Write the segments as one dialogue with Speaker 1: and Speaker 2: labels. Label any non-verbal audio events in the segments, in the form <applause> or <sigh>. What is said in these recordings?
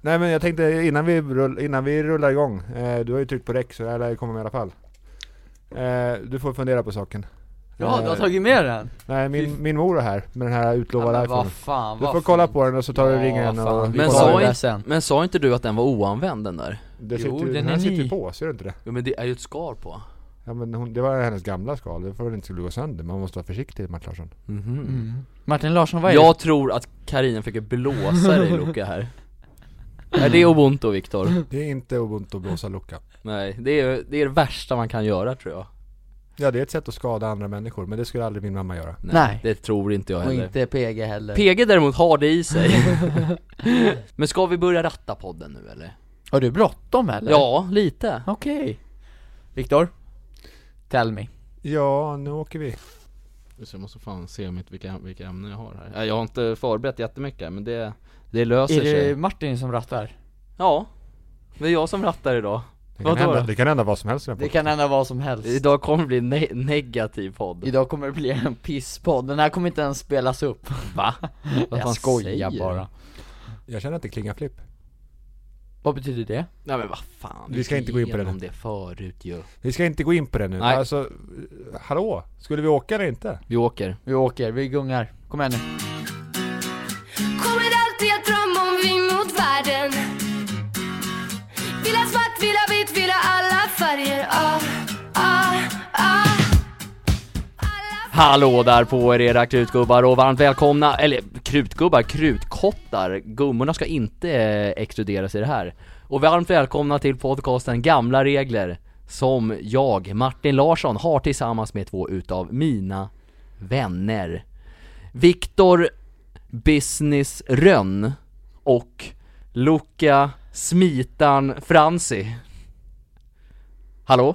Speaker 1: Nej men jag tänkte innan vi, rull, innan vi rullar igång. Eh, du har ju tryckt på räck så det här lär ju komma med i alla fall. Eh, du får fundera på saken.
Speaker 2: Ja, du har
Speaker 1: Eh,
Speaker 2: tagit med den?
Speaker 1: Nej min, min mor är här med den här utlovade
Speaker 2: men
Speaker 1: iPhonen.
Speaker 2: vad fan,
Speaker 1: Du
Speaker 2: vad
Speaker 1: får kolla på den och så tar du ringen
Speaker 2: Ja, fan.
Speaker 1: och... vi
Speaker 3: Men
Speaker 1: kollar.
Speaker 3: sa
Speaker 2: sa
Speaker 3: det där
Speaker 2: inte-
Speaker 3: sen.
Speaker 4: Men sa inte du att den var oanvänd den där?
Speaker 1: Det
Speaker 2: Jo,
Speaker 1: sitter, ju- den
Speaker 2: den
Speaker 1: här
Speaker 2: är
Speaker 1: sitter ju
Speaker 2: ny.
Speaker 1: på, ser du inte det?
Speaker 4: Jo men det är ju ett skar på
Speaker 1: Ja, men hon, det var hennes gamla skal, det får väl inte skulle gå sönder. Man måste vara försiktig Mart Larsson.
Speaker 2: Mm. Martin Larsson, vad är
Speaker 4: Mhm. Jag tror att Karin försöker blåsa dig
Speaker 5: <laughs>
Speaker 4: Luca här Nej det är ubuntu Viktor
Speaker 1: Det är inte ubuntu att blåsa lucka.
Speaker 4: Nej, det är, det är det värsta man kan göra tror jag
Speaker 1: Ja det är ett sätt att skada andra människor, men det skulle aldrig min mamma göra.
Speaker 3: Nej.
Speaker 4: Det tror inte jag
Speaker 3: Och
Speaker 4: heller
Speaker 3: inte PG heller.
Speaker 4: PG däremot har det
Speaker 3: <laughs>
Speaker 4: i sig Men ska vi börja ratta podden nu eller?
Speaker 3: har du bråttom eller?
Speaker 4: Ja, lite
Speaker 3: Okej. Viktor? Tell me.
Speaker 1: Ja, nu åker vi.
Speaker 5: Så jag måste fan se mitt, vilka, vilka ämnen jag har här. Nej, Jag har inte förberett jättemycket men det, det löser
Speaker 3: Är
Speaker 5: sig.
Speaker 3: det Martin som rattar?
Speaker 4: Ja Det är jag som rattar idag
Speaker 1: Det kan,
Speaker 4: Vadå
Speaker 1: hända,
Speaker 4: då?
Speaker 1: det kan hända vad som helst i den här
Speaker 3: Det kan hända vad som helst.
Speaker 4: Idag kommer det bli en ne- negativ podd
Speaker 3: Idag kommer det bli en pisspodd, den här kommer inte ens spelas upp <laughs>
Speaker 4: Va?
Speaker 3: Jag
Speaker 5: fan
Speaker 3: skojar
Speaker 5: säger du?
Speaker 3: bara
Speaker 1: podden. Jag känner att det klingar flipp.
Speaker 3: Vad betyder det?
Speaker 4: Nej men vad fan,
Speaker 1: Vi ska inte gå in på det nu.
Speaker 4: om det förut ju
Speaker 1: Vi ska inte gå in på det nu.
Speaker 4: Nej.
Speaker 1: Alltså, eh, hallå? Skulle vi åka eller inte?
Speaker 4: Vi åker
Speaker 3: Vi åker, vi gungar, kom igen nu
Speaker 6: Kommer alltid att drömma om vi mot världen Vill ha svart, vill ha vitt, vill ha alla färger ah, ah, ah.
Speaker 4: Hallå där på er era krutgubbar och varmt välkomna, eller krutgubbar, krutkottar, gummorna ska inte eh, exkluderas i det här. Och varmt välkomna till podcasten Gamla Regler, som jag, Martin Larsson, har tillsammans med två utav mina vänner. Viktor Business Rönn och Luca Smitan Fransi. Hallå?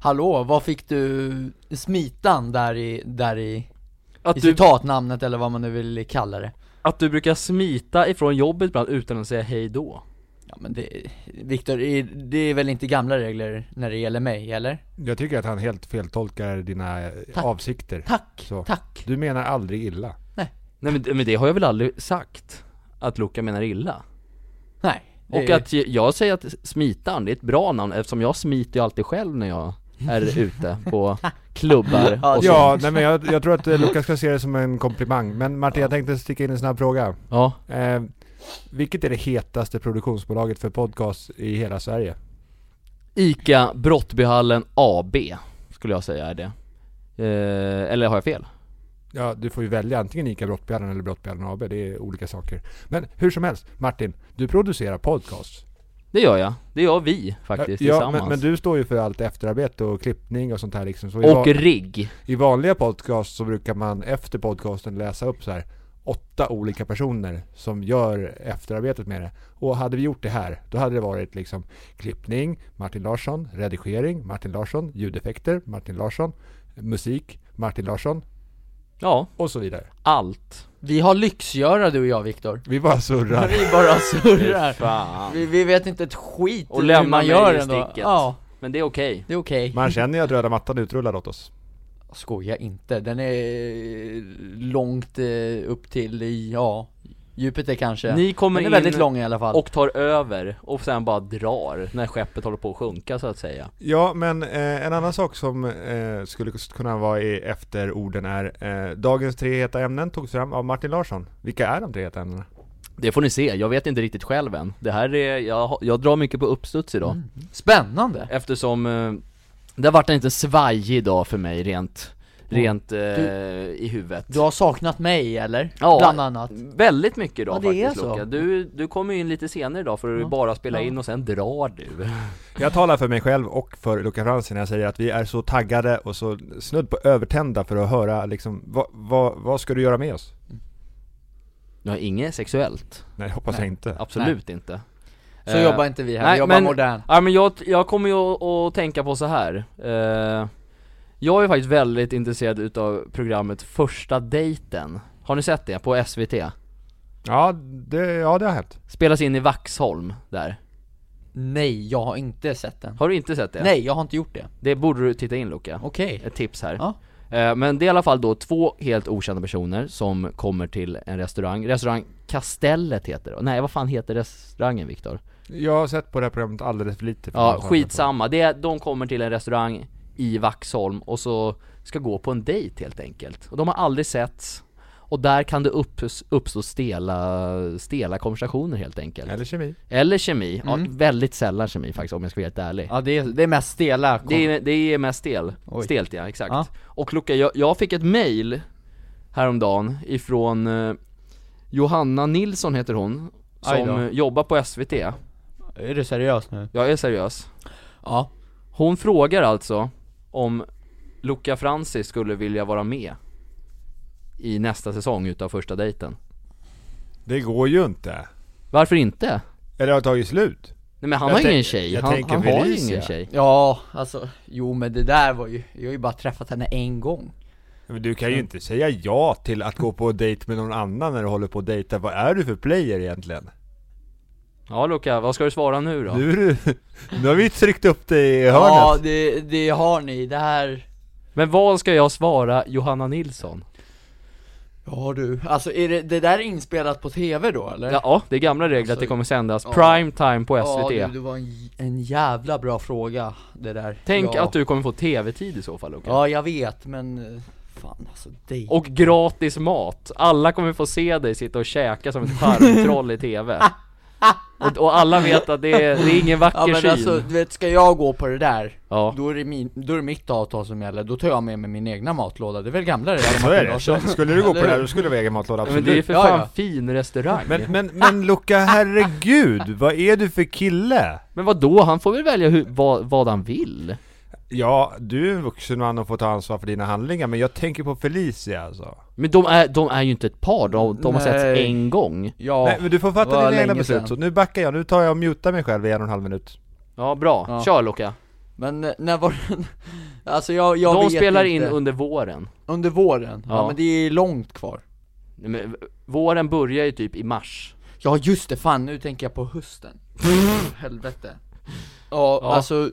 Speaker 3: Hallå, vad fick du smitan där i, där i, i
Speaker 4: Att du,
Speaker 3: citatnamnet eller vad man nu vill kalla det?
Speaker 4: att du brukar smita ifrån jobbet ibland utan att säga hej då.
Speaker 3: Ja men det, Viktor, i- det är väl inte gamla regler när det gäller mig, eller?
Speaker 1: Jag tycker att han helt feltolkar dina eh,
Speaker 3: Tack.
Speaker 1: avsikter.
Speaker 3: Tack,
Speaker 1: Så.
Speaker 3: tack
Speaker 1: Du menar aldrig illa.
Speaker 4: Nej men, det- men det har jag väl aldrig sagt? Att Luca menar illa?
Speaker 3: Nej, det
Speaker 4: Och
Speaker 3: är-
Speaker 4: att jag- jag säger att Smitan, det är ett bra namn eftersom jag smiter ju alltid själv när jag
Speaker 3: <laughs>
Speaker 4: är ute på klubbar
Speaker 3: Ja,
Speaker 4: och så.
Speaker 1: Ja, nej men jag, jag tror att eh, Lukas ska se det som en komplimang. Men Martin, jag tänkte sticka in en snabb fråga.
Speaker 4: ja.
Speaker 1: Eh, vilket är det hetaste produktionsbolaget för podcast i hela Sverige?
Speaker 4: Ica Brottbyhallen AB skulle jag säga är det. Eh, eller har jag fel?
Speaker 1: Ja, du får ju välja antingen ICA Brottbjörnen eller Brottbjörnen AB. Det är olika saker. Men hur som helst, Martin, du producerar podcasts.
Speaker 4: Det gör jag. Det gör vi faktiskt
Speaker 1: ja,
Speaker 4: tillsammans.
Speaker 1: men, men du står ju för allt efterarbete och klippning och sånt här liksom. Så i,
Speaker 4: Och
Speaker 1: va-
Speaker 4: rigg.
Speaker 1: i vanliga podcasts så brukar man efter podcasten läsa upp så här åtta olika personer som gör efterarbetet med det. Och hade vi gjort det här, då hade det varit liksom klippning, Martin Larsson, redigering, Martin Larsson, ljudeffekter, Martin Larsson, musik, Martin Larsson
Speaker 4: Ja,
Speaker 1: och så vidare.
Speaker 4: allt.
Speaker 3: Vi har lyxgöra du och jag Viktor
Speaker 1: Vi bara surrar.
Speaker 3: Vi bara surrar
Speaker 4: Fan.
Speaker 3: vi, vi vet inte ett skit
Speaker 4: Och
Speaker 3: hur
Speaker 4: lämna
Speaker 3: man
Speaker 4: mig
Speaker 3: gör
Speaker 4: i
Speaker 3: ändå.
Speaker 4: sticket.
Speaker 3: Ja,
Speaker 4: Men det är okej.
Speaker 3: det är okej
Speaker 1: <laughs> Man känner ju att röda mattan utrullar åt oss.
Speaker 3: Skoja inte, den är eh, långt eh, upp till, eh, ja, Jupiter kanske
Speaker 4: Ni kommer
Speaker 3: Den är
Speaker 4: in
Speaker 3: väldigt lång i alla fall
Speaker 4: och tar över och sen bara drar när skeppet håller på att sjunka så att säga.
Speaker 1: Ja, men eh, en annan sak som eh, skulle kunna vara i efterorden är eh, Dagens tre heta ämnen togs fram av Martin Larsson. Vilka är de tre heta ämnena?
Speaker 4: Det får ni se, jag vet inte riktigt själv än. Det här är, jag, har- jag drar mycket på uppstuds idag.
Speaker 3: Spännande!
Speaker 4: Eftersom eh, det har varit en liten svajig dag för mig rent, rent eh, i huvudet.
Speaker 3: Du har saknat mig eller?
Speaker 4: Ja.
Speaker 3: Bland annat
Speaker 4: Väldigt mycket idag
Speaker 3: Ja, det är
Speaker 4: faktiskt
Speaker 3: så.
Speaker 4: Luca. Du, du kommer ju in lite senare idag för att
Speaker 3: Ja.
Speaker 4: bara spela
Speaker 3: Ja.
Speaker 4: in och sen drar du.
Speaker 1: Jag talar för mig själv och för Luca Franzi när jag säger att vi är så taggade och så snudd på övertända för att höra liksom, vad, vad, vad ska du göra med oss?
Speaker 4: Du har inget sexuellt,
Speaker 1: Nej, hoppas jag inte.
Speaker 4: absolut inte.
Speaker 3: Så
Speaker 4: Eh,
Speaker 3: jobbar inte vi här,
Speaker 4: nej,
Speaker 3: vi jobbar
Speaker 4: men-
Speaker 3: modernt
Speaker 4: Ja men jag, jag kommer ju att- att tänka på så här. Eh, jag är faktiskt väldigt intresserad utav programmet Första dejten. Har ni sett det på SVT?
Speaker 1: Ja, det, ja, det har hänt.
Speaker 4: Spelas in i Vaxholm där.
Speaker 3: Nej, jag har inte sett den
Speaker 4: Har du inte sett det?
Speaker 3: Nej, jag har inte gjort det
Speaker 4: Det borde du titta in Luca.
Speaker 3: Okej
Speaker 4: Ett tips här.
Speaker 3: Ja.
Speaker 4: Eh, Men det är i alla fall då två helt okända personer som kommer till en restaurang. Restaurang Kastellet heter det. Nej vad fan heter restaurangen Viktor?
Speaker 1: Jag har sett på det här programmet alldeles för lite. för
Speaker 4: Ja
Speaker 1: att-
Speaker 4: skitsamma, det är, de kommer till en restaurang i Vaxholm och så ska gå på en dejt helt enkelt. Och de har aldrig setts. Och där kan det upp, uppstå stela, stela konversationer helt enkelt.
Speaker 1: Eller kemi.
Speaker 4: Eller kemi, ja, väldigt sällan kemi faktiskt om jag ska vara helt ärlig.
Speaker 3: Mm. Ja det är, det är mest stela kom-
Speaker 4: Det är, det är mest stel,
Speaker 3: Oj.
Speaker 4: stelt ja, exakt.
Speaker 3: Ja.
Speaker 4: Och Luca, jag, jag fick ett mail häromdagen ifrån eh, Johanna Nilsson heter hon,
Speaker 3: Aj
Speaker 4: som
Speaker 3: då.
Speaker 4: eh, jobbar på SVT.
Speaker 3: Är du seriös nu?
Speaker 4: Jag är seriös.
Speaker 3: Ja
Speaker 4: Hon frågar alltså om Luca Francis skulle vilja vara med i nästa säsong utav första dejten.
Speaker 1: Det går ju inte.
Speaker 4: Varför inte?
Speaker 1: Eller har tagit slut.
Speaker 4: Nej men han
Speaker 1: Jag
Speaker 4: har ju
Speaker 1: tänk-
Speaker 4: ingen tjej,
Speaker 1: jag
Speaker 4: han,
Speaker 1: tänker
Speaker 4: han har ju
Speaker 1: Felicia.
Speaker 4: ingen tjej.
Speaker 3: Ja, alltså, jo men det där var ju, jag har ju bara träffat henne en gång
Speaker 1: Men du
Speaker 4: Mm.
Speaker 1: kan ju inte säga ja till att gå på dejt med någon annan när du håller på att dejta. Vad är du för player egentligen?
Speaker 4: Ja Luca, vad ska du svara nu då?
Speaker 1: Nu, är du, nu har vi tryckt upp dig i
Speaker 3: Ja,
Speaker 1: hörnet.
Speaker 3: det, det har ni, det här
Speaker 4: Men vad ska jag svara Johanna Nilsson?
Speaker 3: Ja du, alltså är det, det där är inspelat på tv då eller?
Speaker 4: Ja, det är gamla regler att
Speaker 3: Alltså,
Speaker 4: det kommer sändas
Speaker 3: ja.
Speaker 4: prime time på SVT
Speaker 3: Ja du, det var en, j- en jävla bra fråga det där
Speaker 4: Tänk
Speaker 3: ja.
Speaker 4: att du kommer få tv-tid i så fall Luka.
Speaker 3: Ja jag vet men, eh, fan alltså det
Speaker 4: Och gratis mat, alla kommer få se dig sitta och käka som ett charmtroll
Speaker 3: <laughs>
Speaker 4: i tv och, och alla vet att det är, det är ingen vacker
Speaker 3: Ja men
Speaker 4: syn
Speaker 3: alltså, du vet, ska jag gå på det där,
Speaker 4: Ja,
Speaker 3: då är det, min, då är det mitt avtal som gäller, då tar jag med mig min egna matlåda, det är väl gamla det där
Speaker 1: Så
Speaker 3: Martin
Speaker 1: är det.
Speaker 3: Larsson?
Speaker 1: <laughs> Skulle du gå på det här, då skulle du ha egen matlåda,
Speaker 4: men det är ju
Speaker 1: absolut.
Speaker 4: för
Speaker 3: Ja,
Speaker 4: fan
Speaker 3: ja.
Speaker 4: fin restaurang
Speaker 1: Men, men, men Luca, herregud, vad är du för kille?
Speaker 4: Men vad då? han får väl välja hur, vad, vad han vill?
Speaker 1: Ja, du är en vuxen man och får ta ansvar för dina handlingar, men jag tänker på Felicia alltså.
Speaker 4: Men de är, de är ju inte ett par, de, de har setts
Speaker 3: Nej.
Speaker 4: en gång
Speaker 3: Ja,
Speaker 1: Nej, men du får
Speaker 3: var
Speaker 1: fatta dina egna
Speaker 3: länge
Speaker 1: beslut,
Speaker 3: sedan.
Speaker 1: så nu backar jag, nu tar jag och mutar mig själv i en och en halv minut.
Speaker 4: Ja bra,
Speaker 3: Ja.
Speaker 4: kör Luka
Speaker 3: men eh, när var den? <laughs> Alltså jag, jag
Speaker 4: De
Speaker 3: vet
Speaker 4: spelar
Speaker 3: inte.
Speaker 4: in under våren
Speaker 3: Under våren? Ja.
Speaker 4: Ja.
Speaker 3: men det är långt kvar
Speaker 4: Nej, men, Våren börjar ju typ i mars
Speaker 3: Ja just det, fan nu tänker jag på hösten Helvete ja,
Speaker 4: Ja.
Speaker 3: alltså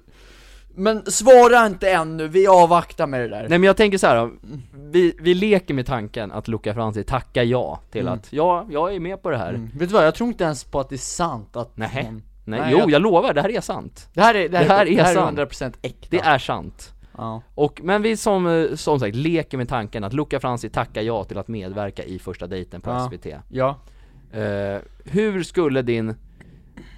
Speaker 3: Men svara inte ännu, vi avvaktar med det där
Speaker 4: Nej men jag tänker så här. då. Vi, vi leker med tanken att Luca Franzi tackar ja till
Speaker 3: Mm.
Speaker 4: att ja, jag är med på det här.
Speaker 3: Mm. Vet du vad, jag tror inte ens på att det är sant att
Speaker 4: Nej.
Speaker 3: någon-
Speaker 4: Nej,
Speaker 3: Nej,
Speaker 4: jo, jag...
Speaker 3: jag-
Speaker 4: lovar, det här är sant.
Speaker 3: Det här är, det här,
Speaker 4: Det här är
Speaker 3: det här
Speaker 4: sant.
Speaker 3: är 100% äkta
Speaker 4: Det är sant.
Speaker 3: ja.
Speaker 4: Och, men vi som, eh, som sagt leker med tanken att Luca Franzi tackar ja till att medverka i första dejten på
Speaker 3: Ja.
Speaker 4: SVT.
Speaker 3: ja,
Speaker 4: Eh, hur skulle din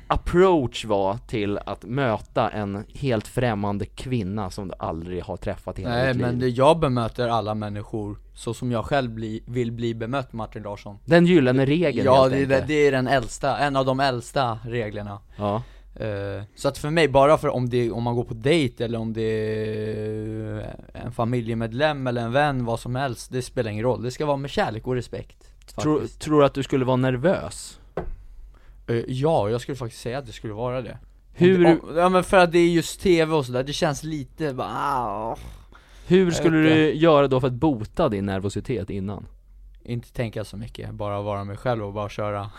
Speaker 4: approach vara till att möta en helt främmande kvinna som du aldrig har träffat i hela
Speaker 3: nej
Speaker 4: ditt liv?
Speaker 3: men det, jag bemöter alla människor så som jag själv bli, vill bli bemött Martin Larsson
Speaker 4: Den gyllene regeln
Speaker 3: Ja
Speaker 4: helt
Speaker 3: det, är det,
Speaker 4: enkelt.
Speaker 3: det är den äldsta, en av de äldsta reglerna
Speaker 4: Ja.
Speaker 3: Eh, Så att för mig, bara för om, det, om man går på dejt eller om det är en familjemedlem eller en vän, vad som helst, det spelar ingen roll. Det ska vara med kärlek och respekt.
Speaker 4: Tror,
Speaker 3: faktiskt.
Speaker 4: tror du att du skulle vara nervös?
Speaker 3: Eh, ja, jag skulle faktiskt säga att det skulle vara det.
Speaker 4: Hur-
Speaker 3: Om, om, ja men för att det är just tv och sådär, det känns lite bara, ah, åh.
Speaker 4: Hur skulle
Speaker 3: vet
Speaker 4: du göra då för att bota din nervositet innan?
Speaker 3: Inte tänka så mycket, bara vara mig själv och bara köra.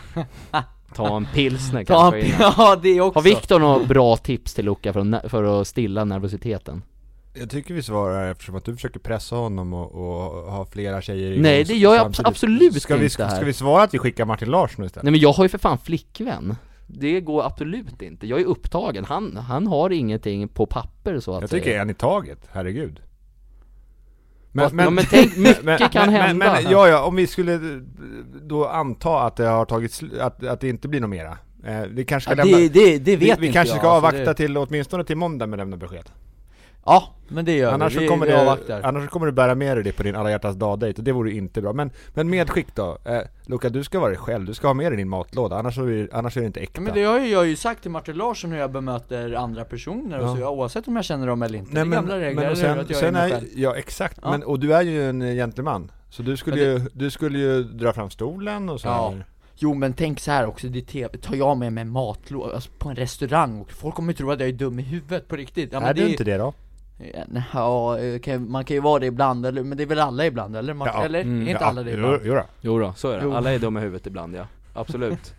Speaker 4: Ta en pilsner
Speaker 3: <laughs> Ta
Speaker 4: kanske
Speaker 3: en,
Speaker 4: innan.
Speaker 3: ja det också.
Speaker 4: Har Viktor några bra tips till Luca för att, nä- för att stilla nervositeten?
Speaker 1: Jag tycker vi svarar eftersom att du försöker pressa honom och, och ha flera tjejer i
Speaker 4: Nej,
Speaker 1: hus
Speaker 4: det gör jag
Speaker 1: samtidigt.
Speaker 4: abs- absolut
Speaker 1: ska vi,
Speaker 4: inte här.
Speaker 1: Ska vi svara att vi skickar Martin Larsson istället?
Speaker 4: Nej men jag har ju för fan flickvän Det går absolut inte, jag är upptagen, han, han har ingenting på papper så att
Speaker 1: Jag tycker
Speaker 4: säga
Speaker 1: en i taget, herregud.
Speaker 4: Fast- ja, men
Speaker 1: <laughs>
Speaker 4: tänk, mycket kan hända.
Speaker 1: Men, ja, ja, om vi skulle eh, då anta att det har tagit sl- att, att det inte blir något mera. Eh, vi kanske
Speaker 3: Ja,
Speaker 1: ska
Speaker 3: det,
Speaker 1: lämna,
Speaker 3: det, det vet
Speaker 1: vi,
Speaker 3: inte
Speaker 1: vi kanske
Speaker 3: jag,
Speaker 1: ska
Speaker 3: alltså,
Speaker 1: avvakta
Speaker 3: det,
Speaker 1: till åtminstone till måndag med att lämna besked.
Speaker 3: Ja, men det gör
Speaker 1: Annars,
Speaker 3: vi, vi,
Speaker 1: så kommer
Speaker 3: vi
Speaker 1: du,
Speaker 3: avvaktar.
Speaker 1: annars så kommer du bära med dig det på din alla hjärtans dag-dejt och det vore ju inte bra. Men, men medskick då. Eh, Luca, du ska vara dig själv, du ska ha med dig din matlåda, annars, så är, annars är det inte äkta.
Speaker 3: Ja, men det har ju jag har ju sagt till Martin Larsson hur jag bemöter andra personer och så, ja, oavsett om jag känner dem eller inte. det är gamla regler,
Speaker 1: och
Speaker 3: eller hur?
Speaker 1: sen,
Speaker 3: att jag
Speaker 1: sen
Speaker 3: är
Speaker 1: är,
Speaker 3: mig själv.
Speaker 1: ja exakt,
Speaker 3: Ja.
Speaker 1: Men, och du är ju en eh, gentleman. Så du skulle,
Speaker 3: Ja, det-
Speaker 1: ju, du skulle ju dra fram stolen och så
Speaker 3: Ja.
Speaker 1: här.
Speaker 3: Jo men tänk så här också, det är TV, tar jag med mig matlåda alltså, på en restaurang och folk kommer tro att jag är dum i huvudet på riktigt. Ja, men
Speaker 1: är du inte det då?
Speaker 3: Ja, nej, Ja, eh, kan, man kan ju vara det ibland, eller, men det är väl alla ibland eller? Martin?
Speaker 1: Ja.
Speaker 3: eller?
Speaker 4: Mm,
Speaker 3: är inte
Speaker 1: ja,
Speaker 3: alla det
Speaker 1: jo,
Speaker 3: ibland?
Speaker 1: jo då.
Speaker 4: Jo då, så är det,
Speaker 3: Jo.
Speaker 4: <laughs> alla är dumma i huvudet ibland ja, absolut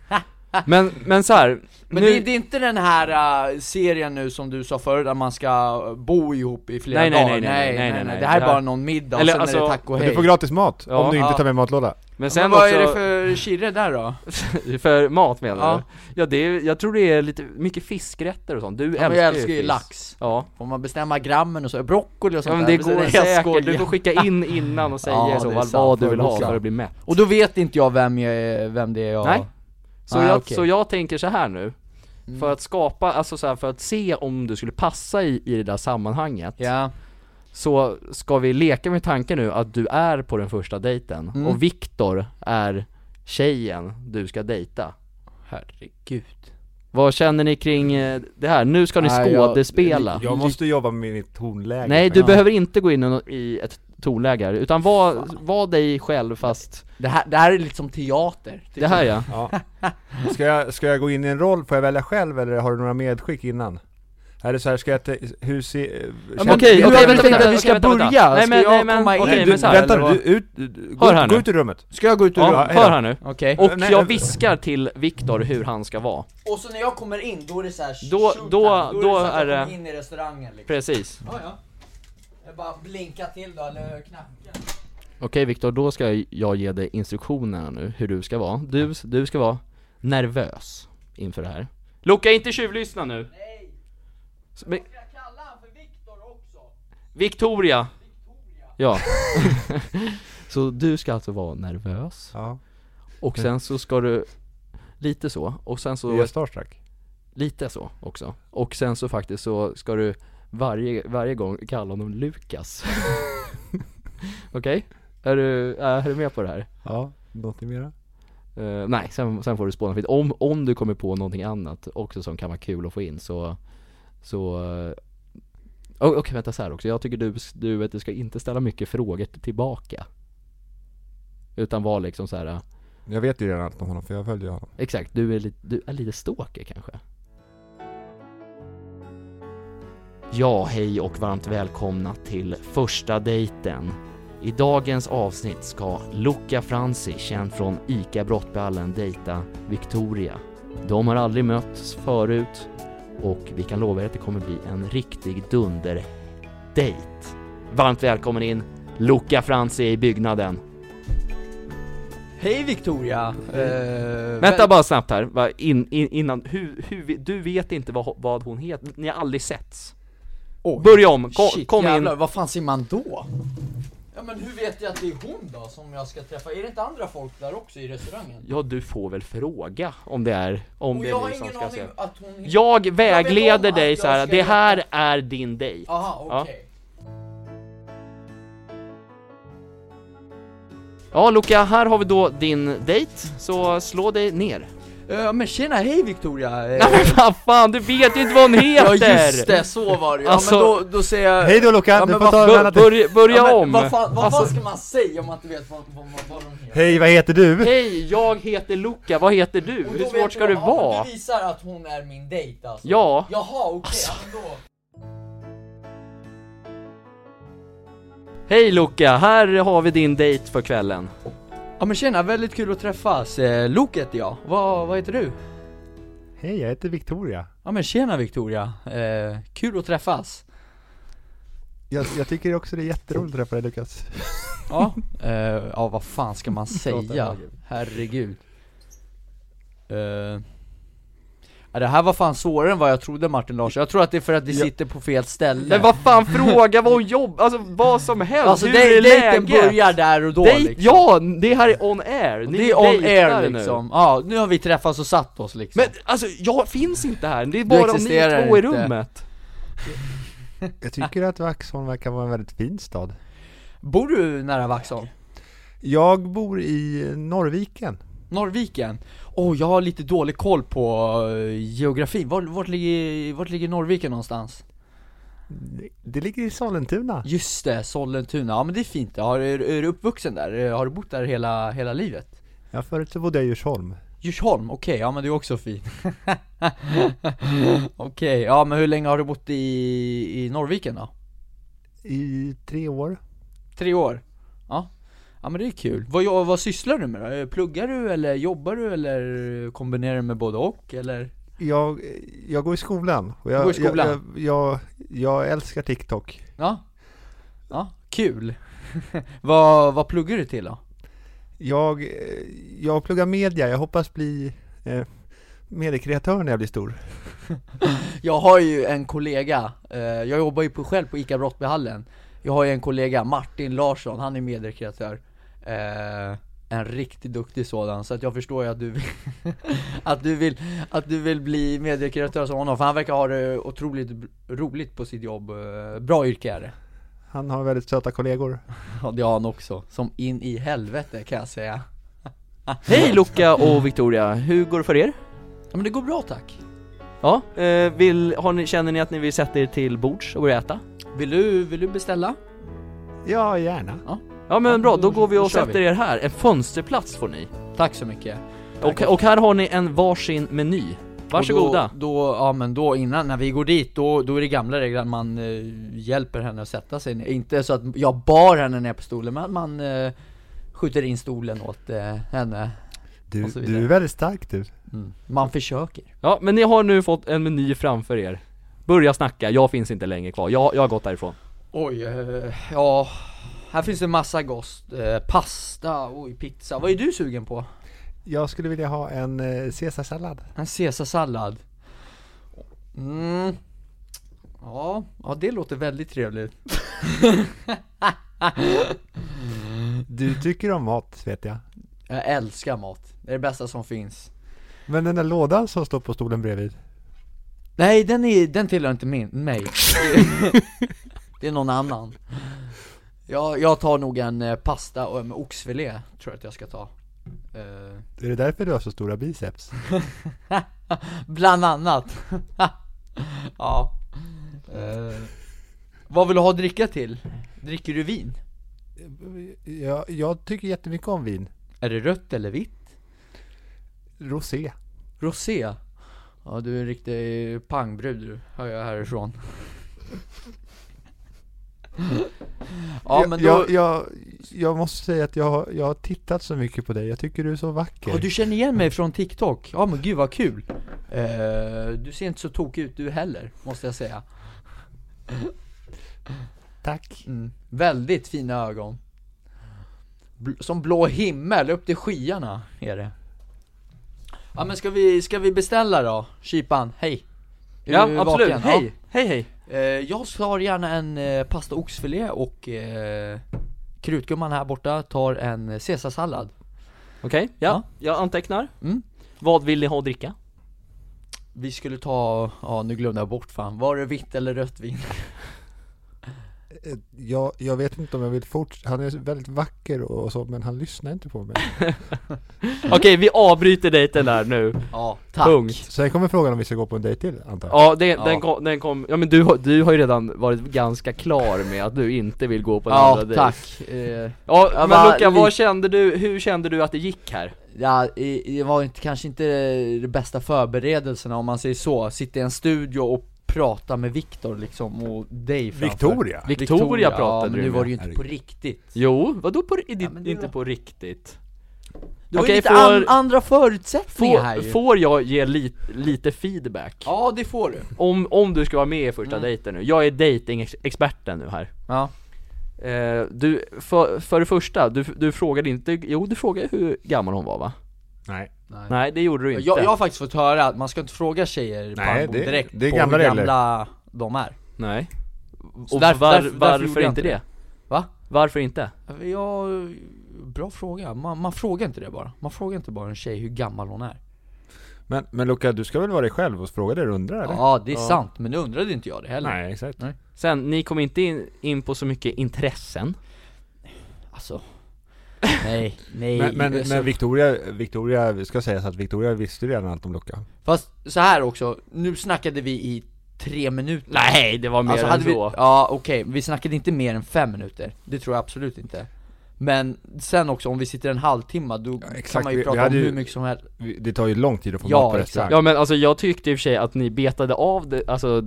Speaker 4: Men, men så här,
Speaker 3: Men
Speaker 4: nu,
Speaker 3: det, det är inte den här äh, serien nu som du sa förut, där man ska äh, bo ihop i flera
Speaker 4: Nej, nej,
Speaker 3: dagar
Speaker 4: nej, nej, nej, nej, nej.
Speaker 3: Det här är
Speaker 4: Det här-
Speaker 3: bara någon middag,
Speaker 4: Eller,
Speaker 3: sen är
Speaker 4: alltså,
Speaker 3: det tack och
Speaker 1: Men
Speaker 3: hej
Speaker 1: du får gratis mat
Speaker 4: Ja.
Speaker 1: om du inte
Speaker 3: Ja.
Speaker 1: tar med matlåda.
Speaker 4: men sen
Speaker 3: Men vad
Speaker 4: också,
Speaker 3: är det för kirre där då?
Speaker 4: för... mat menar
Speaker 3: Ja.
Speaker 4: du? Ja det är, jag tror det är lite, mycket fiskrätter och sånt, du
Speaker 3: Ja,
Speaker 4: älskar,
Speaker 3: men jag älskar ju
Speaker 4: fisk.
Speaker 3: lax
Speaker 4: Ja,
Speaker 3: Får man bestämma grammen och så, broccoli och
Speaker 4: ja
Speaker 3: sånt
Speaker 4: men
Speaker 3: där?
Speaker 4: det
Speaker 3: Precis,
Speaker 4: går
Speaker 3: är
Speaker 4: säkert, du
Speaker 3: skoj.
Speaker 4: får skicka in innan och säga
Speaker 3: Ja,
Speaker 4: så
Speaker 3: det är
Speaker 4: vad,
Speaker 3: sant.
Speaker 4: vad du vill ha
Speaker 1: Förboka.
Speaker 4: för att bli mätt
Speaker 3: Och då vet inte jag vem, jag, är- vem det är jag...
Speaker 4: Nej. Så,
Speaker 3: Nej,
Speaker 4: jag,
Speaker 3: okej.
Speaker 4: så jag tänker så här nu,
Speaker 3: Mm.
Speaker 4: för att skapa, alltså så här, för att se om du skulle passa i, i det där sammanhanget
Speaker 3: Ja,
Speaker 4: Så ska vi leka med tanken nu att du är på den första dejten
Speaker 3: Mm.
Speaker 4: och Viktor är tjejen du ska dejta
Speaker 3: herregud
Speaker 4: Vad känner ni kring eh, det här? Nu ska ni
Speaker 3: Nej, jag-
Speaker 4: skådespela
Speaker 1: Jag måste jobba med mitt tonläge.
Speaker 4: Nej du
Speaker 1: faktiskt.
Speaker 4: behöver inte gå in i nå- i ett tonläge här, utan var, var dig själv fast
Speaker 3: det här, det här är lite som teater
Speaker 4: Det här ja,
Speaker 3: <laughs>
Speaker 1: Ja. Ska, jag, ska jag gå in i en roll? Får jag välja själv eller har du några medskick innan? Är det så här, ska jag... te- Hur se, eh,
Speaker 4: men
Speaker 1: känner-
Speaker 4: okej,
Speaker 3: Du har
Speaker 4: okej,
Speaker 3: väl
Speaker 4: vänta,
Speaker 3: tänkt
Speaker 4: vänta,
Speaker 3: att vi ska
Speaker 4: vänta, vänta.
Speaker 3: börja?
Speaker 4: Nej,
Speaker 3: Ska
Speaker 4: men-
Speaker 3: jag
Speaker 4: nej, men-
Speaker 3: komma in?
Speaker 4: okej,
Speaker 1: Nej,
Speaker 4: men
Speaker 1: du,
Speaker 4: så här,
Speaker 1: vänta
Speaker 4: eller
Speaker 1: nu,
Speaker 4: vad?
Speaker 1: du, ut, du,
Speaker 4: Hör här
Speaker 1: gå,
Speaker 4: nu.
Speaker 1: gå ut ur rummet.
Speaker 3: Ska jag gå ut ur
Speaker 4: ja
Speaker 3: rummet?
Speaker 1: hej då.
Speaker 4: hör här nu
Speaker 3: Okej
Speaker 4: Och
Speaker 1: Nej,
Speaker 4: jag
Speaker 1: men-
Speaker 4: viskar till Viktor hur han ska vara
Speaker 3: Och så när jag kommer in, då är det såhär
Speaker 4: Då- showtime. då- Då är det då så att jag är det-
Speaker 3: jag
Speaker 4: kommer
Speaker 3: in i restaurangen liksom
Speaker 4: Precis
Speaker 3: Ja, ja. Jag bara blinka till då, eller knacka.
Speaker 4: Okej Viktor, då ska jag- jag ge dig instruktionerna nu hur du ska vara. Du, du ska vara nervös inför det här. Luca, inte tjuvlyssna nu!
Speaker 3: Nej,
Speaker 4: S- men-
Speaker 3: jag kallar han för Viktor också.
Speaker 4: Victoria! Ja. så du ska alltså vara nervös,
Speaker 1: Ja,
Speaker 4: och sen så ska du lite så, och sen
Speaker 1: är
Speaker 4: så
Speaker 1: jag starstruck?
Speaker 4: lite så också. Och sen så faktiskt så ska du varje, varje gång kalla honom Lukas. <laughs> Okej? Är, du, är du med på det här?
Speaker 1: Ja, någonting mera?
Speaker 4: Eh, nej, sen, sen får du spåna fritt. Om, om du kommer på någonting annat också som kan vara kul att få in så, så eh, o- Okej vänta så här också, jag tycker du, du, vet, du ska inte ställa mycket frågor tillbaka Utan vara liksom så här. eh,
Speaker 1: Jag vet ju redan allt om honom för jag följer ju honom.
Speaker 4: exakt, du är, lite, du är lite stalker kanske Ja, hej och varmt välkomna till första dejten. I dagens avsnitt ska Luca Franzi, känd från ICA Brottballen, dejta Victoria. De har aldrig mötts förut och vi kan lova er att det kommer bli en riktig dunder-dejt. Varmt välkommen in Luca Franzi i byggnaden.
Speaker 3: Hej Victoria! Eh,
Speaker 4: Vänta
Speaker 3: väl-
Speaker 4: bara snabbt här, va, in, in, innan, hur, hur, du vet inte vad, vad hon heter, ni har aldrig setts.
Speaker 3: Oj.
Speaker 4: Börja om, kom,
Speaker 3: Shit,
Speaker 4: kom in.
Speaker 3: jävlar, vad fan ser man då? Ja men hur vet jag att det är hon då som jag ska träffa? Är det inte andra folk där också i restaurangen?
Speaker 4: Ja du får väl fråga om det är, om
Speaker 3: Och
Speaker 4: det
Speaker 3: jag
Speaker 4: är
Speaker 3: har
Speaker 4: du som
Speaker 3: ingen
Speaker 4: ska
Speaker 3: aning
Speaker 4: se.
Speaker 3: att hon
Speaker 4: Jag
Speaker 3: Jag vet
Speaker 4: vägleder
Speaker 3: om
Speaker 4: dig
Speaker 3: att
Speaker 4: så här.
Speaker 3: jag ska
Speaker 4: det här är din dejt.
Speaker 3: Aha, okej.
Speaker 4: Ja Luca, här har vi då din dejt, så slå dig ner.
Speaker 3: Eh, men tjena, hej Victoria! Eh,
Speaker 4: Nej men vad fan, du vet ju inte vad
Speaker 3: <laughs>
Speaker 4: hon
Speaker 3: ja
Speaker 4: heter!
Speaker 3: just det, så var det Ja
Speaker 4: Alltså-
Speaker 3: men då, då säger jag...
Speaker 1: Hej då Luca,
Speaker 3: Ja,
Speaker 1: du
Speaker 3: men
Speaker 1: får
Speaker 3: vad-
Speaker 1: ta en
Speaker 4: Bör,
Speaker 1: annan till.
Speaker 4: börja, börja
Speaker 3: ja, men
Speaker 4: om!
Speaker 3: Vad fan, vad
Speaker 4: Alltså-
Speaker 3: fan ska man säga om man inte vet vad, vad, vad, vad de heter?
Speaker 1: Hej, vad heter du?
Speaker 4: Hej, jag heter Luca, vad heter du?
Speaker 3: Och då
Speaker 4: Hur
Speaker 3: vet
Speaker 4: svårt ska
Speaker 3: jag-
Speaker 4: det
Speaker 3: ja,
Speaker 4: vara?
Speaker 3: men Det visar att hon är min dejt alltså.
Speaker 4: Ja.
Speaker 3: Jaha, okej,
Speaker 4: Alltså.
Speaker 3: ja, men då.
Speaker 4: Hej Luca, här har vi din dejt för kvällen.
Speaker 3: Ja men tjena, väldigt kul att träffas. Eh, Luke heter jag. Vad, vad heter du?
Speaker 1: Hej, jag heter Victoria.
Speaker 3: Ja men tjena Victoria. Eh, kul att träffas.
Speaker 1: Jag, jag tycker också det är jätteroligt att träffa dig Lukas.
Speaker 3: <laughs> Ja, eh, ja vad fan ska man säga? Herregud. Eh, ja, det här var fan svårare än vad jag trodde Martin Larsson. Jag tror att det är för att vi
Speaker 1: Ja.
Speaker 3: sitter på fel ställe.
Speaker 4: Men vad fan fråga, vad jobb, alltså vad som helst,
Speaker 3: Alltså
Speaker 4: hur
Speaker 3: dej-
Speaker 4: är
Speaker 3: dejten
Speaker 4: läget?
Speaker 3: börjar där och då
Speaker 4: Dejt,
Speaker 3: liksom.
Speaker 4: ja! Det här är on air, Ni
Speaker 3: Det är on
Speaker 4: dejtar
Speaker 3: air liksom. Ja, nu har vi träffats och satt oss liksom.
Speaker 4: Men alltså, jag finns inte här, det är bara ni
Speaker 3: existerar
Speaker 4: två i
Speaker 3: inte.
Speaker 4: rummet
Speaker 1: Jag tycker att Vaxholm verkar vara en väldigt fin stad.
Speaker 3: Bor du nära Vaxholm?
Speaker 1: Jag bor i Norrviken.
Speaker 3: Norrviken? Åh, jag har lite dålig koll på eh, geografi. Vart, vart, ligger, vart ligger Norrviken någonstans?
Speaker 1: Det ligger i Sollentuna.
Speaker 3: Just det, Sollentuna. Ja men det är fint. Har, är, är du uppvuxen där? Eh, Har du bott där hela, hela livet?
Speaker 1: Ja, förut så bodde jag i Djursholm.
Speaker 3: Djursholm, okej, ja men det är också fint. <laughs> okej, ja men hur länge har du bott i, i Norrviken då?
Speaker 1: I tre år.
Speaker 3: Tre år? Ja. Ja men det är kul. Vad, jo- vad sysslar du med då? Eh, Pluggar du eller jobbar du eller kombinerar du med både och eller?
Speaker 1: Jag, jag går i skolan. Och jag,
Speaker 3: Du går i skolan?
Speaker 1: Jag, jag, jag, jag älskar TikTok.
Speaker 3: Ja, ja kul. <laughs> vad, vad pluggar du till då?
Speaker 1: Jag, eh, jag pluggar media. Jag hoppas bli eh, mediekreatör när jag blir stor.
Speaker 3: Jag har ju en kollega, eh, jag jobbar ju på, själv på ICA Brottbyhallen Jag har ju en kollega, Martin Larsson, han är medieredaktör eh, En riktigt duktig sådan, så att jag förstår ju att du vill <laughs> Att du vill, att du vill bli medieredaktör som honom, för han verkar ha det otroligt b- roligt på sitt jobb eh, Bra yrke är det
Speaker 1: Han har väldigt söta kollegor.
Speaker 3: Ja det har han också, som in i helvete kan jag säga
Speaker 4: Hej Luca och Victoria, hur går det för er?
Speaker 3: Ja men det går bra tack
Speaker 4: Ja, eh, vill, har ni, känner ni att ni vill sätta er till bords och börja äta?
Speaker 3: Vill du, vill du beställa?
Speaker 1: Ja, gärna.
Speaker 4: Ja men bra, då går vi
Speaker 3: Då
Speaker 4: och
Speaker 3: kör
Speaker 4: sätter
Speaker 3: vi.
Speaker 4: er här, en fönsterplats får ni
Speaker 3: Tack så mycket
Speaker 4: och, och här har ni en varsin meny Varsågoda!
Speaker 3: Och Då, då, ja men då innan, när vi går dit, då, då är det gamla regler att man eh, hjälper henne att sätta sig ner. Inte så att jag bar henne ner på stolen, men att man eh, skjuter in stolen åt eh, henne.
Speaker 1: Du,
Speaker 3: Och så vidare.
Speaker 1: du är väldigt stark du.
Speaker 3: Mm. Man försöker.
Speaker 4: Ja men ni har nu fått en meny framför er Börja snacka, jag finns inte längre kvar, jag, jag har gått därifrån
Speaker 3: Oj, eh, ja. Här finns det massa gost. Eh, pasta, oj, pizza. Vad är du sugen på?
Speaker 1: Jag skulle vilja ha en eh, caesarsallad.
Speaker 3: En caesarsallad. Mm. Ja, ja, det låter väldigt trevligt.
Speaker 1: Du tycker om mat, vet jag.
Speaker 3: Jag älskar mat. Det är det bästa som finns.
Speaker 1: Men den där lådan som står på stolen bredvid.
Speaker 3: Nej, den, är, den tillhör inte min,
Speaker 1: <laughs>
Speaker 3: mig Det är någon annan jag, jag tar nog en eh, pasta och en oxfilé, tror jag att jag ska ta Eh,
Speaker 1: Är det därför du har så stora biceps?
Speaker 3: Bland annat <laughs> Ja Eh, Vad vill du ha att dricka till? Dricker du vin?
Speaker 1: Jag, jag tycker jättemycket om vin.
Speaker 3: Är det rött eller vitt?
Speaker 1: Rosé.
Speaker 3: Rosé? Ja, du är en riktig pangbrud du, hör jag härifrån <laughs> Ja men då...
Speaker 1: jag, jag, jag måste säga att jag, har- jag har tittat så mycket på dig. Jag tycker du är så vacker.
Speaker 3: Ja du känner igen mig från TikTok? Ja men gud vad kul! Eh, du ser inte så tokig ut du heller, måste jag säga
Speaker 1: Tack.
Speaker 3: mm. Väldigt fina ögon Bl- Som blå himmel, upp till skyarna är det Ja men ska vi, ska vi beställa då? Kipan, hej! Är
Speaker 4: Ja
Speaker 3: du
Speaker 4: absolut,
Speaker 3: vaken?
Speaker 4: hej! Hej hej!
Speaker 3: Ja. Eh, Jag tar gärna en eh, pasta oxfilé och eh, krutgumman här borta tar en eh, caesarsallad
Speaker 4: Okej, ja,
Speaker 3: Ja.
Speaker 4: jag antecknar
Speaker 3: Mm.
Speaker 4: Vad vill ni ha att dricka?
Speaker 3: Vi skulle ta, ja nu glömde jag bort fan, var det vitt eller rött vin?
Speaker 1: Eh, Jag, jag vet inte om jag vill fortsätta. Han är väldigt vacker och så, men han lyssnar inte <laughs> på mig.
Speaker 4: Okej, vi avbryter dejten där nu,
Speaker 3: Ja, tack!
Speaker 4: punkt
Speaker 1: Sen kommer frågan om vi ska gå på en dejt till, antar jag.
Speaker 4: Ja, det, Den,
Speaker 3: Ja.
Speaker 4: kom, den kom, ja men du, har- du har ju redan varit ganska klar med att du inte vill gå på en andra
Speaker 3: Ja,
Speaker 4: dejt
Speaker 3: tack. Eh,
Speaker 4: Ja,
Speaker 3: Jag
Speaker 4: men
Speaker 3: var
Speaker 4: Luca, vad
Speaker 3: li-
Speaker 4: kände du, hur kände du att det gick här?
Speaker 3: ja, i- det var inte, kanske inte de bästa förberedelserna om man säger så. Sitta i en studio och prata med Viktor liksom och dig framför.
Speaker 1: Victoria?
Speaker 4: Victoria pratade
Speaker 3: ja, men
Speaker 4: du
Speaker 3: nu
Speaker 4: med.
Speaker 3: var det ju inte på
Speaker 1: Herregud.
Speaker 3: riktigt.
Speaker 4: Jo, vadå på, i,
Speaker 3: men det
Speaker 4: inte
Speaker 3: var-
Speaker 4: på riktigt?
Speaker 3: Det var
Speaker 4: Okej,
Speaker 3: ju lite
Speaker 4: får-
Speaker 3: an, andra förutsättningar här
Speaker 4: Får,
Speaker 3: ju.
Speaker 4: får jag ge li, lite feedback?
Speaker 3: Ja, det får du.
Speaker 4: Om, om du ska vara med i första
Speaker 3: Mm.
Speaker 4: dejten nu, jag är datingexperten nu här
Speaker 3: Ja.
Speaker 4: eh, Du, för, för det första, du, du frågade inte, jo du frågade hur gammal hon var va?
Speaker 1: Nej.
Speaker 3: Nej.
Speaker 4: Nej det gjorde du inte
Speaker 3: Jag, jag har faktiskt fått höra att man ska inte fråga tjejer
Speaker 1: Nej,
Speaker 3: på
Speaker 1: det-
Speaker 3: direkt
Speaker 1: det är
Speaker 3: på
Speaker 1: gamla
Speaker 3: hur
Speaker 1: regler.
Speaker 3: gamla de är.
Speaker 4: Nej
Speaker 3: Så
Speaker 4: Och
Speaker 3: därför-
Speaker 4: var,
Speaker 3: därför- därför
Speaker 4: varför
Speaker 3: gjorde jag
Speaker 4: inte
Speaker 3: inte
Speaker 4: det?
Speaker 3: det. Va?
Speaker 4: Varför inte?
Speaker 3: Ja, bra fråga. Man, man frågar inte det bara. Man frågar inte bara en tjej hur gammal hon är.
Speaker 1: Men, men Luca, du ska väl vara dig själv och fråga det du undrar, eller?
Speaker 3: Ja, det är sant, men nu undrade inte jag det heller.
Speaker 1: Nej, exakt.
Speaker 4: Sen, ni kom inte in, in på så mycket intressen
Speaker 3: Alltså Nej,
Speaker 1: <laughs>
Speaker 3: nej
Speaker 1: Men, men,
Speaker 3: alltså,
Speaker 1: men Victoria, Victoria, vi ska säga så att Victoria visste redan allt om Luca.
Speaker 3: Fast så här också, nu snackade vi i tre minuter
Speaker 4: Nej, det var mer
Speaker 3: Alltså,
Speaker 4: än
Speaker 3: hade vi,
Speaker 4: så
Speaker 3: Ja okej, vi snackade inte mer än fem minuter Det tror jag absolut inte Men sen också, om vi sitter en halvtimme, då kan
Speaker 1: exakt.
Speaker 3: man ju
Speaker 1: Vi- vi
Speaker 3: prata om
Speaker 1: hade ju-
Speaker 3: hur mycket som helst
Speaker 1: Vi- Det tar ju lång tid att få
Speaker 3: Ja,
Speaker 1: mat på
Speaker 3: exakt.
Speaker 1: restaurang.
Speaker 4: Ja men alltså jag tyckte i och för sig att ni betade av det, alltså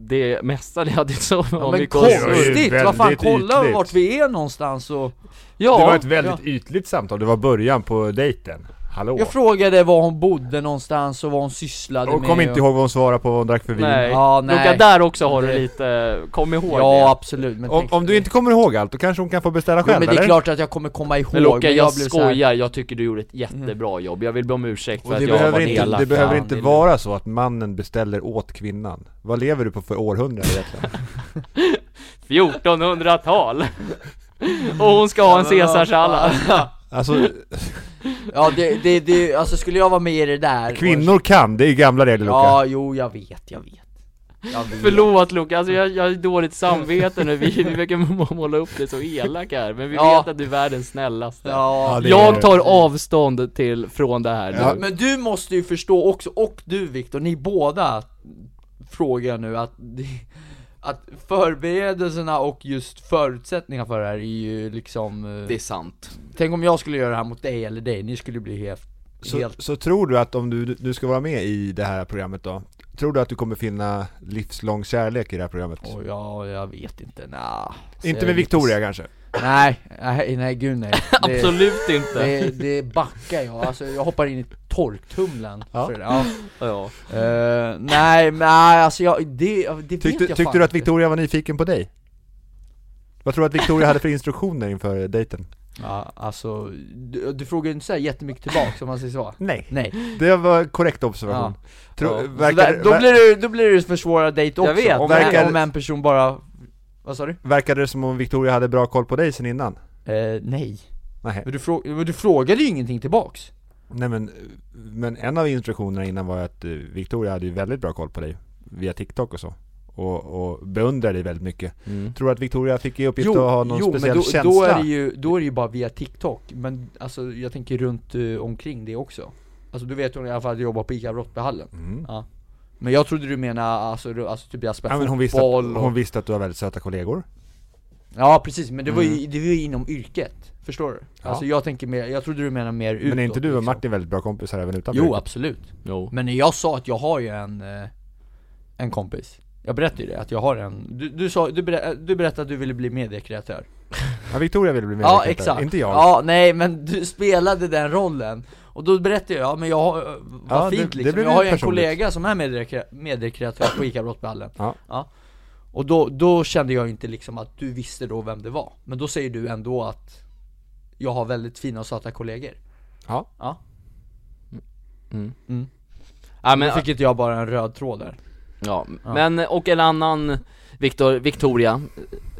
Speaker 4: det mesta ni hade så
Speaker 3: Ja,
Speaker 4: om
Speaker 3: men
Speaker 4: vi kollar-
Speaker 1: konstigt. Det var ju
Speaker 3: konstigt! Vad fan,
Speaker 1: väldigt
Speaker 3: kolla
Speaker 1: ytligt.
Speaker 3: vart vi är någonstans och
Speaker 4: Ja,
Speaker 1: det var ett väldigt ytligt samtal, det var början på dejten. Hallå?
Speaker 3: Jag frågade var hon bodde någonstans och vad hon sysslade
Speaker 1: Och
Speaker 3: med
Speaker 1: kom inte
Speaker 3: och...
Speaker 1: ihåg vad hon svarade på vad hon drack för vin.
Speaker 4: nej.
Speaker 3: Ja, nej.
Speaker 4: Luka, där också har du
Speaker 3: Det-
Speaker 4: lite, kom ihåg
Speaker 3: Ja
Speaker 4: det.
Speaker 3: absolut, men
Speaker 1: Om,
Speaker 3: tänk-
Speaker 1: om du inte kommer ihåg allt, då kanske hon kan få beställa
Speaker 3: jo,
Speaker 1: själv
Speaker 3: men det är
Speaker 1: eller?
Speaker 3: klart att jag kommer komma ihåg,
Speaker 4: Men Luka, jag,
Speaker 3: blev så här- Mm.
Speaker 4: skojar, jag tycker du gjorde ett jättebra jobb, jag vill be om ursäkt för
Speaker 1: Och
Speaker 4: att
Speaker 1: det
Speaker 4: jag var
Speaker 1: behöver, inte,
Speaker 4: elak
Speaker 1: det behöver
Speaker 4: Ja,
Speaker 1: inte
Speaker 4: är
Speaker 1: vara så att mannen beställer åt kvinnan. Vad lever du på för århundrade egentligen?
Speaker 4: 1400-tal! <laughs> Och hon ska ha en
Speaker 3: Ja, men vad
Speaker 4: caesarsallad!
Speaker 1: Alltså,
Speaker 3: <laughs> Ja det, det, det, alltså skulle jag vara med i det där
Speaker 1: kvinnor kan, det är gamla regler Luka.
Speaker 3: Ja, jo jag vet, jag vet Jag vet
Speaker 4: Förlåt Lukas, alltså jag, jag har dåligt samvete nu, vi, vi försöker <laughs> må- måla upp det så elak här, men vi
Speaker 3: Ja.
Speaker 4: vet att du är världens snällaste
Speaker 1: Ja,
Speaker 3: Ja,
Speaker 1: det-
Speaker 4: Jag tar avstånd till, från det här
Speaker 1: Ja.
Speaker 4: nu
Speaker 3: men du måste ju förstå också, och du Viktor, ni båda Frågar jag nu att det- Att förberedelserna och just förutsättningarna för det här är ju liksom eh,
Speaker 4: Det är sant
Speaker 3: Tänk om jag skulle göra det här mot dig eller dig, ni skulle bli helt,
Speaker 1: Så,
Speaker 3: helt
Speaker 1: så tror du att om du, du ska vara med i det här programmet då, tror du att du kommer finna livslång kärlek i det här programmet?
Speaker 3: Åh, ja, jag vet inte, nja
Speaker 1: inte med Victoria kanske?
Speaker 3: Nej, nej, nej gud
Speaker 4: <laughs>
Speaker 3: nej Det-
Speaker 4: Absolut inte!
Speaker 3: Det, det backar jag, alltså jag hoppar in i torktumlaren
Speaker 1: Ja.
Speaker 3: för det. Ja.
Speaker 4: Ja.
Speaker 3: Eh, nej, nej alltså jag, det, det
Speaker 1: Tyckte,
Speaker 3: vet jag
Speaker 1: tyckte
Speaker 3: fan
Speaker 1: du att
Speaker 3: inte.
Speaker 1: Victoria var nyfiken på dig? Vad tror du att Victoria
Speaker 3: <laughs>
Speaker 1: hade för instruktioner inför dejten?
Speaker 3: Ja, alltså, du, du frågar ju inte såhär jättemycket tillbaka om man säger så
Speaker 1: Nej.
Speaker 3: Nej,
Speaker 1: Det var korrekt observation. Tro,
Speaker 4: Ja.
Speaker 1: Verkar,
Speaker 3: Så där, då, blir det, då blir det försvårad dejt också,
Speaker 4: vet,
Speaker 3: om,
Speaker 1: verkar-
Speaker 3: en, om en person bara, vad sa du?
Speaker 1: Verkade det som om Victoria hade bra koll på dig sen innan?
Speaker 3: Eh, nej,
Speaker 1: Nej.
Speaker 3: men du, frå- men du frågade ju ingenting tillbaks
Speaker 1: Nej men, men en av instruktionerna innan var att eh, Victoria hade ju väldigt bra koll på dig via TikTok och så. Och, och beundrade dig väldigt mycket.
Speaker 5: Mm.
Speaker 1: Tror du att Victoria fick i uppgift att ha någon speciell
Speaker 3: men då,
Speaker 1: känsla?
Speaker 3: då är det ju, då är det ju bara via TikTok, men alltså jag tänker runt eh, omkring det också Alltså du vet hon i alla fall att jag jobbar på ICA Brottbyhallen
Speaker 1: Mm.
Speaker 3: Ja. Men jag trodde du menade alltså, du- alltså typ jag spelar
Speaker 1: Ja, men hon, visste att,
Speaker 3: fotboll och...
Speaker 1: hon visste att du har väldigt söta kollegor.
Speaker 3: Ja precis, men det var
Speaker 1: Mm.
Speaker 3: ju, det var ju inom yrket, förstår du? Alltså jag tänker mer, jag trodde du menade mer utåt
Speaker 1: Men är inte du och
Speaker 3: liksom.
Speaker 1: Martin väldigt bra kompisar även utanför?
Speaker 3: Jo
Speaker 1: yrket?
Speaker 3: absolut,
Speaker 4: Jo.
Speaker 3: men när jag sa att jag har ju en, eh, en kompis Jag berättade ju det, att jag har en, du, du sa, du, berä, du berättade att du ville bli mediekreatör
Speaker 1: Ja, Victoria ville bli med
Speaker 3: Ja
Speaker 1: i detta.
Speaker 3: exakt,
Speaker 1: Inte jag.
Speaker 3: Ja nej men du spelade den rollen Och då berättade jag, ja men jag har, eh, vad
Speaker 1: Ja, det-
Speaker 3: fint
Speaker 1: det
Speaker 3: liksom,
Speaker 1: blev
Speaker 3: jag
Speaker 1: ju
Speaker 3: har ju en
Speaker 1: personligt.
Speaker 3: kollega som är mediekre- mediekreatör på ICA Brottballen
Speaker 1: Ja.
Speaker 3: Och då, då kände jag ju inte liksom att du visste då vem det var Men då säger du ändå att jag har väldigt fina och söta kollegor
Speaker 1: Ja.
Speaker 3: Ja,
Speaker 4: Ja,
Speaker 3: men
Speaker 4: men,
Speaker 3: då fick inte jag bara en röd tråd där
Speaker 4: ja. men, och en annan Victor, Victoria,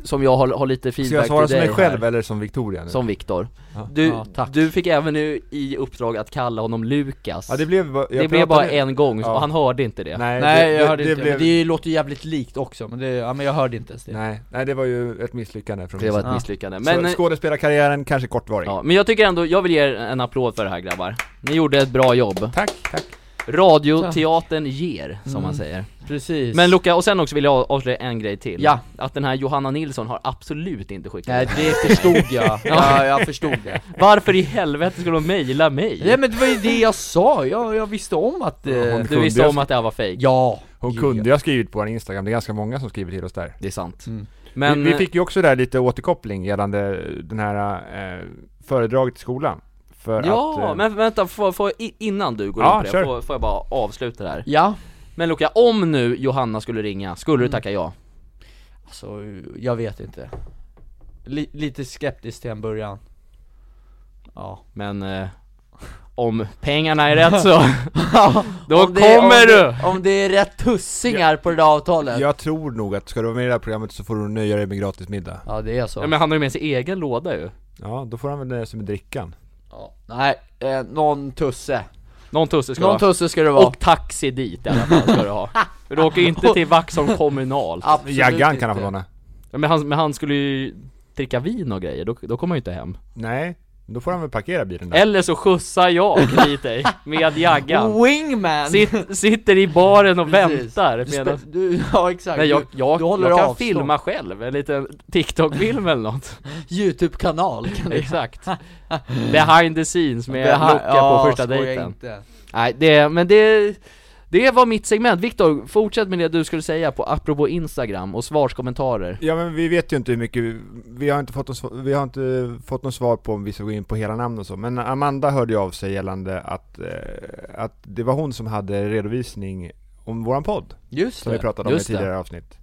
Speaker 4: som jag har, har lite feedback
Speaker 1: Ska jag svara
Speaker 4: till
Speaker 1: som
Speaker 4: dig
Speaker 1: mig själv
Speaker 4: här,
Speaker 1: eller som Victoria nu?
Speaker 4: Som Viktor.
Speaker 1: Ja.
Speaker 4: Du,
Speaker 3: Ja, tack.
Speaker 4: du fick även nu i uppdrag att kalla honom Lukas.
Speaker 1: Ja det blev, jag
Speaker 4: det blev bara
Speaker 1: pratade-
Speaker 4: en gång,
Speaker 1: Ja.
Speaker 4: och han hörde inte det.
Speaker 1: Nej,
Speaker 3: Nej
Speaker 1: det,
Speaker 3: jag hörde
Speaker 1: det,
Speaker 3: inte,
Speaker 1: det
Speaker 3: men
Speaker 1: blev,
Speaker 3: det låter jävligt likt också men det, ja men jag hörde inte ens det
Speaker 1: nej, nej det var ju ett misslyckande från
Speaker 4: Det var ett
Speaker 3: Ja.
Speaker 4: misslyckande. Men,
Speaker 1: Men, så skådespelarkarriären kanske kortvarig.
Speaker 4: ja, men jag tycker ändå, jag vill ge er en applåd för det här grabbar. Ni gjorde ett bra jobb.
Speaker 1: Tack, tack.
Speaker 4: Radioteatern ger, som man
Speaker 3: Mm.
Speaker 4: säger.
Speaker 3: Precis
Speaker 4: Men Luca, och sen också vill jag avslöja en grej till.
Speaker 3: Ja.
Speaker 4: Att den här Johanna Nilsson har absolut inte skickat
Speaker 3: Nej
Speaker 4: det.
Speaker 3: det förstod jag, <laughs> ja jag förstod det
Speaker 4: Varför i helvete skulle hon mejla mig?
Speaker 3: Nej men det var ju det jag sa, jag, jag visste om att... Eh,
Speaker 1: hon
Speaker 4: du
Speaker 1: kunde
Speaker 4: visste
Speaker 1: ju-
Speaker 4: om att det här var fejk?
Speaker 3: ja!
Speaker 1: Hon
Speaker 3: ja.
Speaker 1: kunde ju ha skrivit på vår Instagram, det är ganska många som skriver till oss där.
Speaker 4: Det är sant.
Speaker 3: Mm.
Speaker 4: Men,
Speaker 1: vi, vi fick ju också där lite återkoppling gällande den här eh, föredraget i skolan. För
Speaker 4: ja,
Speaker 1: att, eh,
Speaker 4: men vänta, får, får, i- innan du går
Speaker 1: Ja,
Speaker 4: in på det,
Speaker 1: kör.
Speaker 4: får, får jag bara avsluta det här?
Speaker 3: Ja,
Speaker 4: Men Luca, om nu Johanna skulle ringa, skulle du tacka ja?
Speaker 3: alltså jag vet inte Li- Lite skeptisk till en början Ja
Speaker 4: Men, eh, om pengarna är rätt så, då
Speaker 3: Om det-
Speaker 4: kommer
Speaker 3: om
Speaker 4: du!
Speaker 3: Det, om det är rätt tussingar på det där avtalet ja.
Speaker 1: Jag tror nog att ska du vara med i det här programmet så får du nöja dig med gratis middag.
Speaker 3: det är så
Speaker 4: Ja, men han har ju med sig egen låda ju.
Speaker 1: Ja, då får han väl nöja sig med drickan.
Speaker 3: ja. Nej, eh, någon tusse
Speaker 4: Någon tusse ska
Speaker 3: Någon
Speaker 4: du ha.
Speaker 3: tusse ska det vara
Speaker 4: Och taxi dit i alla fall ska du ha. För du åker ju inte till Vaxholm kommunal.
Speaker 3: Absolut
Speaker 1: Jaggan kan han få
Speaker 3: inte.
Speaker 1: låna.
Speaker 4: Men han, men han skulle ju dricka vin och grejer, då, då kommer han ju inte hem.
Speaker 1: Nej, då får han väl parkera bilen där.
Speaker 4: Eller så skjutsar jag dit dig
Speaker 3: <laughs>
Speaker 4: med jaggan.
Speaker 3: Wingman!
Speaker 4: Sitt, sitter i baren och
Speaker 3: Oh, Precis.
Speaker 4: väntar
Speaker 3: Du spe-
Speaker 4: medan...
Speaker 3: du, <laughs> ja exakt,
Speaker 4: Nej jag,
Speaker 3: Du-
Speaker 4: jag,
Speaker 3: du håller
Speaker 4: jag kan
Speaker 3: avstånd.
Speaker 4: filma själv, en liten TikTok-film eller
Speaker 3: <laughs>
Speaker 4: något
Speaker 3: Youtube-kanal kan du
Speaker 4: Exakt Behind the scenes med
Speaker 3: Det här-
Speaker 4: Luca
Speaker 3: ja,
Speaker 4: på första
Speaker 3: skoja
Speaker 4: dejten
Speaker 3: inte.
Speaker 4: Nej det, men det Det var mitt segment, Viktor, fortsätt med det du skulle säga på apropå Instagram och svarskommentarer
Speaker 1: Ja men vi vet ju inte hur mycket, vi- vi har inte fått någon, sv- vi har inte fått någon svar på om vi ska gå in på hela namn och så, men Amanda hörde ju av sig gällande att, eh, att det var hon som hade redovisning om våran podd,
Speaker 3: Just
Speaker 1: som vi
Speaker 3: det,
Speaker 1: pratade om i
Speaker 4: just det.
Speaker 1: tidigare avsnitt.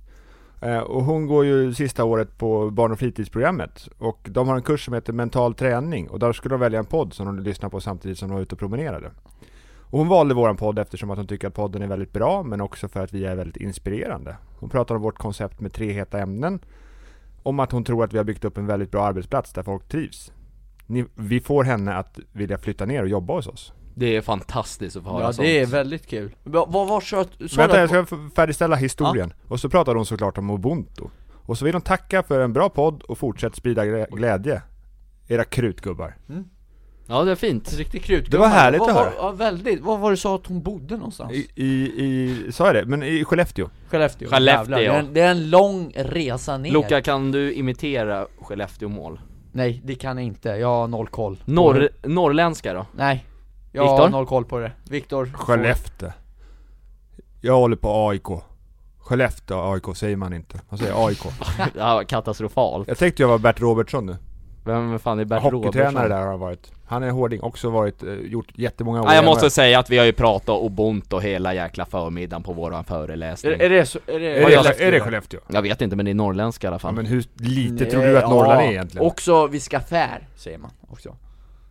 Speaker 1: Eh, Och hon går ju sista året på barn och fritidsprogrammet och de har en kurs som heter mental träning och där skulle de välja en podd som de lyssnar på samtidigt som de var ute och promenerade. Och hon valde våran podd eftersom att hon tycker att podden är väldigt bra men också för att vi är väldigt inspirerande. Hon pratar om vårt koncept med tre heta ämnen. Om att hon tror att vi har byggt upp en väldigt bra arbetsplats där folk trivs. Ni, vi får henne att vilja flytta ner och jobba hos oss.
Speaker 4: Det är fantastiskt att få höra
Speaker 3: Ja
Speaker 4: sånt
Speaker 3: det är väldigt kul. Va- Vad var så att, sa
Speaker 1: Vänta
Speaker 3: du
Speaker 1: jag
Speaker 3: att-
Speaker 1: ska f- färdigställa historien. Och så pratar hon såklart om ubuntu. Och så vill hon tacka för en bra podd och fortsätt sprida glä- glädje. Era krutgubbar.
Speaker 4: Ja det är fint
Speaker 3: Riktigt krutgumma.
Speaker 1: Det var härligt
Speaker 3: Vad
Speaker 1: att
Speaker 3: var-
Speaker 1: höra.
Speaker 3: Ja väldigt, vad var det du sa att hon bodde någonstans?
Speaker 1: I, i, i, sa jag det? Men i Skellefteå.
Speaker 3: Skellefteå,
Speaker 4: Skellefteå.
Speaker 3: Jävlar, Det, är en, det är en lång resa ner
Speaker 4: Luca, kan du imitera Skellefteå-mål?
Speaker 3: Nej det kan jag inte, jag har noll koll på
Speaker 4: Norr,
Speaker 3: det.
Speaker 4: norrländska då?
Speaker 3: Nej Jag har
Speaker 4: Viktor?
Speaker 3: noll koll på det, Viktor
Speaker 1: Skellefteå. Jag håller på AIK. Skellefteå AIK säger man inte. Man säger AIK.
Speaker 4: Det här var katastrofalt
Speaker 1: Jag tänkte jag var Bert Robertson nu.
Speaker 4: Vem fan är Bert Robertsson?
Speaker 1: Hockeytränare där har han varit. Han är hårding, också varit, eh, gjort jättemånga år.
Speaker 4: Nej, jag
Speaker 1: gammal.
Speaker 4: måste säga att vi har ju pratat ubuntu hela jäkla förmiddagen på våran föreläsning
Speaker 3: det så, är
Speaker 1: är, det, är det Skellefteå?
Speaker 4: Jag vet inte men det är norrländska i alla
Speaker 1: Ja,
Speaker 4: fall
Speaker 1: men hur lite tror du att Norrland är egentligen?
Speaker 3: Också vid Skaffär, säger man också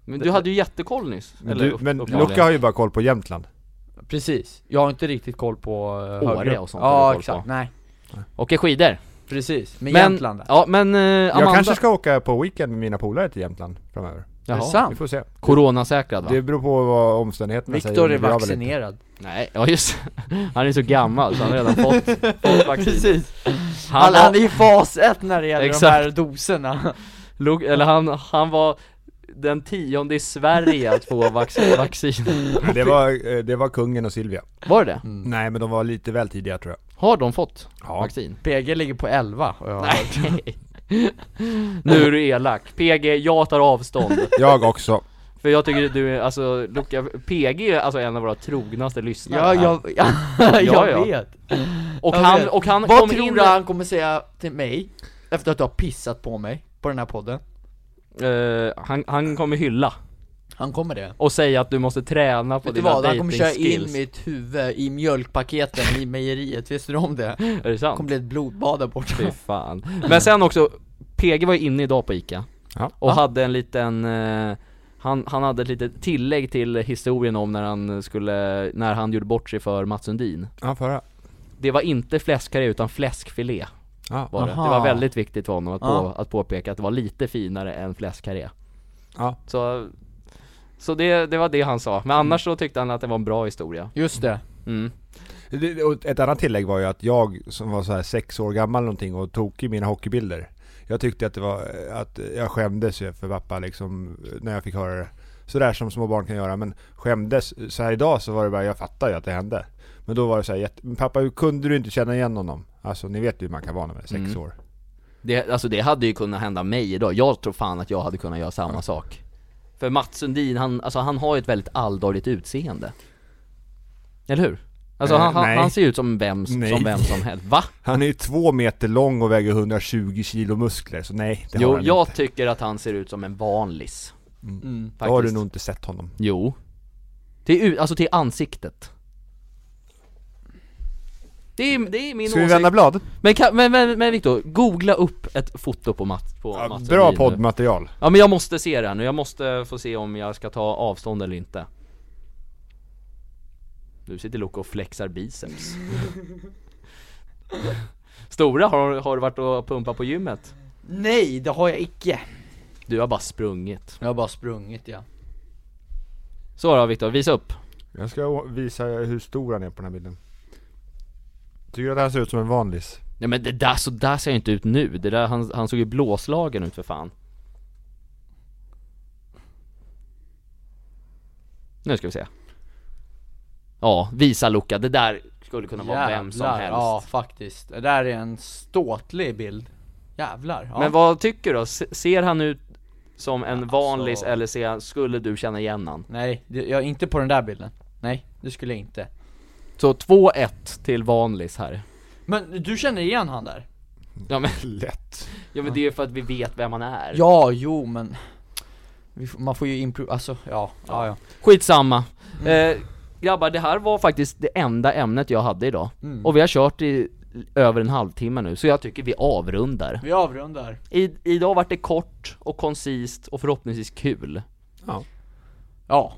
Speaker 4: Men du hade ju jättekoll nyss
Speaker 1: men
Speaker 4: eller
Speaker 1: du,
Speaker 4: upp-
Speaker 1: men
Speaker 4: uppenbarligen.
Speaker 1: Luca har ju bara koll på Jämtland.
Speaker 3: Precis, jag har inte riktigt koll på uh,
Speaker 4: Åre och sånt har du
Speaker 3: Ja
Speaker 4: koll
Speaker 3: exakt,
Speaker 4: på.
Speaker 3: nej
Speaker 4: Åker skidor
Speaker 3: Precis, med
Speaker 4: Men-
Speaker 3: Jämtland där.
Speaker 4: Ja men eh, Amanda
Speaker 1: Jag kanske ska åka på weekend med mina polare till Jämtland framöver.
Speaker 3: Är det
Speaker 4: Jaha,
Speaker 3: sant?
Speaker 1: Vi får se.
Speaker 4: coronasäkrad va?
Speaker 1: Det beror på vad omständigheterna säger. om
Speaker 3: Viktor
Speaker 1: det
Speaker 3: är
Speaker 1: blir av eller
Speaker 3: vaccinerad
Speaker 4: Nej, ja just Han är så gammal så han har redan fått,
Speaker 1: <laughs>
Speaker 4: fått vaccin
Speaker 3: Precis,
Speaker 4: han,
Speaker 3: han, han
Speaker 4: var,
Speaker 3: är i fas 1 när det gäller de
Speaker 4: Exakt.
Speaker 3: här doserna
Speaker 4: Lu- eller han, han var den tionde i Sverige att
Speaker 1: <laughs>
Speaker 4: få vaccin, vaccin.
Speaker 1: inte. Men Det var, eh, det var kungen och Silvia.
Speaker 4: Var det det?
Speaker 3: Mm.
Speaker 1: Nej men de var lite väl tidiga tror jag.
Speaker 4: Har de fått
Speaker 1: Ja.
Speaker 4: vaccin?
Speaker 3: PG ligger på 11 och jag har hört.
Speaker 4: Nej <laughs> Nu är du elak, PG, jag tar
Speaker 3: <laughs>
Speaker 4: avstånd
Speaker 1: Jag också.
Speaker 4: För jag tycker att du, är- alltså Luca, PG är alltså en av våra trognaste lyssnare
Speaker 3: Ja,
Speaker 4: här.
Speaker 3: jag, <laughs> ja,
Speaker 4: Ja,
Speaker 3: jag
Speaker 4: ja.
Speaker 3: vet
Speaker 4: Och
Speaker 3: jag
Speaker 4: han,
Speaker 3: vet.
Speaker 4: och han
Speaker 3: Vad
Speaker 4: kom
Speaker 3: tror
Speaker 4: in
Speaker 3: du han kommer säga till mig? Efter att du har pissat på mig, på den här podden
Speaker 4: Eh, han, han kommer hylla
Speaker 3: Han kommer det
Speaker 4: och säga att du måste träna på
Speaker 3: Vet du
Speaker 4: dina
Speaker 3: vad? Han kommer köra
Speaker 4: datingskills.
Speaker 3: in mitt huvud i mjölkpaketen i mejeriet, visste du om det? Det
Speaker 4: Är det sant?
Speaker 3: kommer bli ett blodbad där borta
Speaker 4: Fy fan. Men sen också, PG var ju inne idag på ICA
Speaker 1: Ja.
Speaker 4: och hade en liten eh, han, han hade ett litet tillägg till historien om när han skulle, när han gjorde bort sig för Mats Sundin
Speaker 1: Ja förra.
Speaker 4: Det var inte fläskkarré utan fläskfilé
Speaker 1: Ja.
Speaker 4: var det.
Speaker 3: Aha.
Speaker 4: det var väldigt viktigt för honom att, på,
Speaker 3: Ja.
Speaker 4: att påpeka att det var lite finare än fläskkarré
Speaker 1: Ja.
Speaker 4: Så, så det, det var det han sa,
Speaker 1: Mm.
Speaker 4: men annars så tyckte han att det var en bra historia
Speaker 3: Just det,
Speaker 4: mm.
Speaker 1: Det- och Ett annat tillägg var ju att jag som var så här sex år gammal någonting och tog i mina hockeybilder. Jag tyckte att det var, att jag skämdes ju för pappa liksom när jag fick höra det. Sådär som små barn kan göra men skämdes. Så här idag så var det bara, jag fattar ju att det hände. Men då var det så här, jätte- men pappa hur kunde du inte känna igen honom? Alltså ni vet ju hur man kan vara när man är sex
Speaker 4: Mm.
Speaker 1: år.
Speaker 4: det, Alltså det hade ju kunnat hända mig idag, jag tror fan att jag hade kunnat göra samma sak För Mats Sundin, han, alltså han har ju ett väldigt alldagligt utseende Eller hur? Alltså
Speaker 1: Eh,
Speaker 4: han, han,
Speaker 1: nej.
Speaker 4: han ser ju ut som vem,
Speaker 1: Nej.
Speaker 4: som, vem som helst, va?
Speaker 1: Han är ju två meter lång och väger 120 kilo muskler så nej det har
Speaker 4: Jo,
Speaker 1: han
Speaker 4: jag
Speaker 1: inte.
Speaker 4: tycker att han ser ut som en vanlis
Speaker 3: Mm.
Speaker 1: Då har du
Speaker 4: faktiskt.
Speaker 1: nog inte sett honom.
Speaker 4: Jo Till, u- alltså till ansiktet det är, det är min
Speaker 1: Ska vi
Speaker 4: åsikt
Speaker 1: vända blad?
Speaker 4: Men, kan, men, men, men Viktor, googla upp ett foto på Mats, på
Speaker 1: Ja,
Speaker 4: Mats
Speaker 1: bra
Speaker 4: Sundin nu.
Speaker 1: poddmaterial.
Speaker 4: Ja men jag måste se det här nu, jag måste få se om jag ska ta avstånd eller inte Nu sitter Loco och flexar biceps Stora, har, har du varit och pumpat på gymmet?
Speaker 3: nej det har jag icke
Speaker 4: Du har bara sprungit
Speaker 3: Jag har bara sprungit ja
Speaker 4: Så då Viktor, visa upp
Speaker 1: Jag ska å- visa hur stor han är på den här bilden. Tycker du att han ser ut som en vanlis?
Speaker 4: Nej men det där, så där ser jag inte ut nu, det där, han, han såg ju blåslagen ut för fan Nu ska vi se Ja, visa Luca, det där skulle kunna vara vem som
Speaker 3: Jävlar,
Speaker 4: helst
Speaker 3: ja faktiskt Det där är en ståtlig bild Jävlar, ja. Alltså.
Speaker 4: Men vad tycker du då? Se- Ser han ut som en vanlis eller ser han, skulle du känna igen han?
Speaker 3: Nej, det, jag, inte på den där bilden Nej, det skulle jag inte
Speaker 4: Så 2-1 till Vanlis här.
Speaker 2: Men du känner igen han där?
Speaker 4: Ja men,
Speaker 1: Lätt.
Speaker 4: ja, men det är för att vi vet vem han är.
Speaker 3: Ja, jo men vi får- Man får ju improv, alltså ja, ja, ja.
Speaker 4: Skitsamma.
Speaker 3: Mm.
Speaker 4: Eh, grabbar, det här var faktiskt det enda ämnet jag hade idag.
Speaker 3: Mm.
Speaker 4: Och vi har kört i över en halvtimme nu, så jag tycker vi avrundar.
Speaker 3: Vi avrundar
Speaker 4: I, idag vart det kort och koncist och förhoppningsvis kul.
Speaker 3: Ja,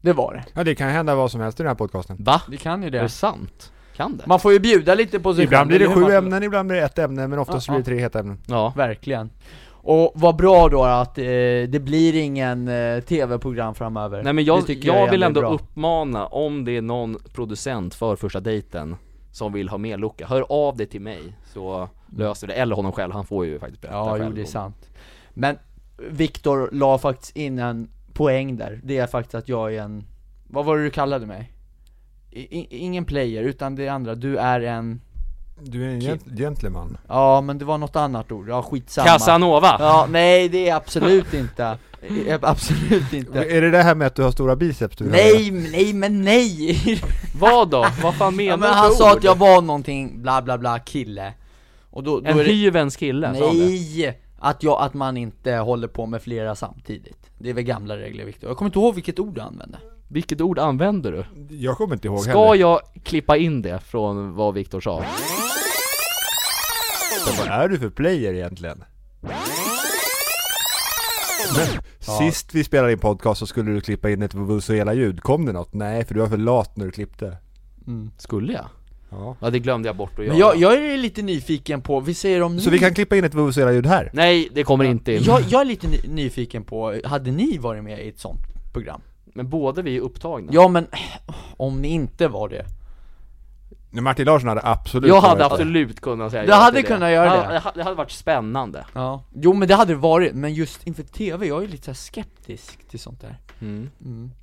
Speaker 3: det var det
Speaker 1: Ja, det kan hända vad som helst i den här podcasten.
Speaker 4: Va?
Speaker 3: Det kan ju
Speaker 4: Är det
Speaker 3: det
Speaker 4: sant? Kan det?
Speaker 3: Man får ju bjuda lite på sig själv,
Speaker 1: Ibland blir det
Speaker 3: eller hur,
Speaker 1: sju
Speaker 3: Martin?
Speaker 1: ämnen, ibland blir det ett ämne, men oftast
Speaker 3: Ja,
Speaker 1: blir det tre heta ämnen.
Speaker 4: Ja.
Speaker 3: Verkligen Och vad bra då att eh, det blir ingen eh, tv-program framöver
Speaker 4: Nej men
Speaker 3: Det
Speaker 4: jag, jag,
Speaker 3: tycker jag
Speaker 4: vill
Speaker 3: är
Speaker 4: ändå
Speaker 3: bra.
Speaker 4: uppmana, om det är någon producent för första dejten som vill ha med Luca, hör av dig till mig så löser vi det. Eller honom själv, han får ju faktiskt berätta
Speaker 3: Ja,
Speaker 4: själv.
Speaker 3: jo det är
Speaker 4: om-
Speaker 3: sant Men Viktor la faktiskt in en poäng där, det är faktiskt att jag är en, vad var det du kallade mig? I, i, ingen player, utan det andra, du är en,
Speaker 1: Du är en gent- gentleman.
Speaker 3: ja men det var något annat ord, ja skitsamma
Speaker 4: Casanova!
Speaker 3: Ja, nej det är absolut inte, Eh, absolut inte
Speaker 1: Är det det här med att <laughs> du har stora biceps du vill ha med?
Speaker 3: Nej, nej men
Speaker 4: <laughs>
Speaker 3: nej!
Speaker 4: Vad då? Vad fan menar
Speaker 3: Ja,
Speaker 4: du
Speaker 3: men
Speaker 4: för
Speaker 3: han sa att
Speaker 4: ord?
Speaker 3: jag var någonting bla bla bla kille Och då, då
Speaker 4: En
Speaker 3: är det,
Speaker 4: hyvens kille, sa han det?
Speaker 3: nej! Att, jag, att man inte håller på med flera samtidigt Det är väl gamla regler Viktor, jag kommer inte ihåg vilket ord du använde
Speaker 4: Vilket ord använder du?
Speaker 1: Jag kommer inte ihåg
Speaker 4: Ska
Speaker 1: heller.
Speaker 4: jag klippa in det från vad Viktor sa?
Speaker 1: Vad är du för player egentligen? Men, Sist vi spelade in podcast så skulle du klippa in ett vuvuzela-ljud. Kom det något? Nej, för du var för lat när du klippte.
Speaker 4: Skulle jag?
Speaker 1: Ja.
Speaker 4: Ja det glömde jag bort att göra
Speaker 3: Men jag, jag är lite nyfiken på, vi säger om
Speaker 1: Så
Speaker 3: ni
Speaker 1: vi kan klippa in ett vuvuzela-ljud här?
Speaker 4: Nej, det kommer inte in.
Speaker 3: jag, jag är lite ny, nyfiken på, hade ni varit med i ett sånt program?
Speaker 4: Men båda vi är upptagna
Speaker 3: Ja men, om ni inte var det
Speaker 1: Nej, Martin Larsson hade absolut
Speaker 4: Jag hade
Speaker 1: varit-
Speaker 4: absolut kunnat säga
Speaker 3: Du
Speaker 4: ja till
Speaker 3: hade kunnat göra
Speaker 4: Ja,
Speaker 3: det.
Speaker 4: det ha- Det hade varit spännande
Speaker 3: Ja, jo men det hade det varit, men just inför TV, jag är lite så här skeptisk till sånt där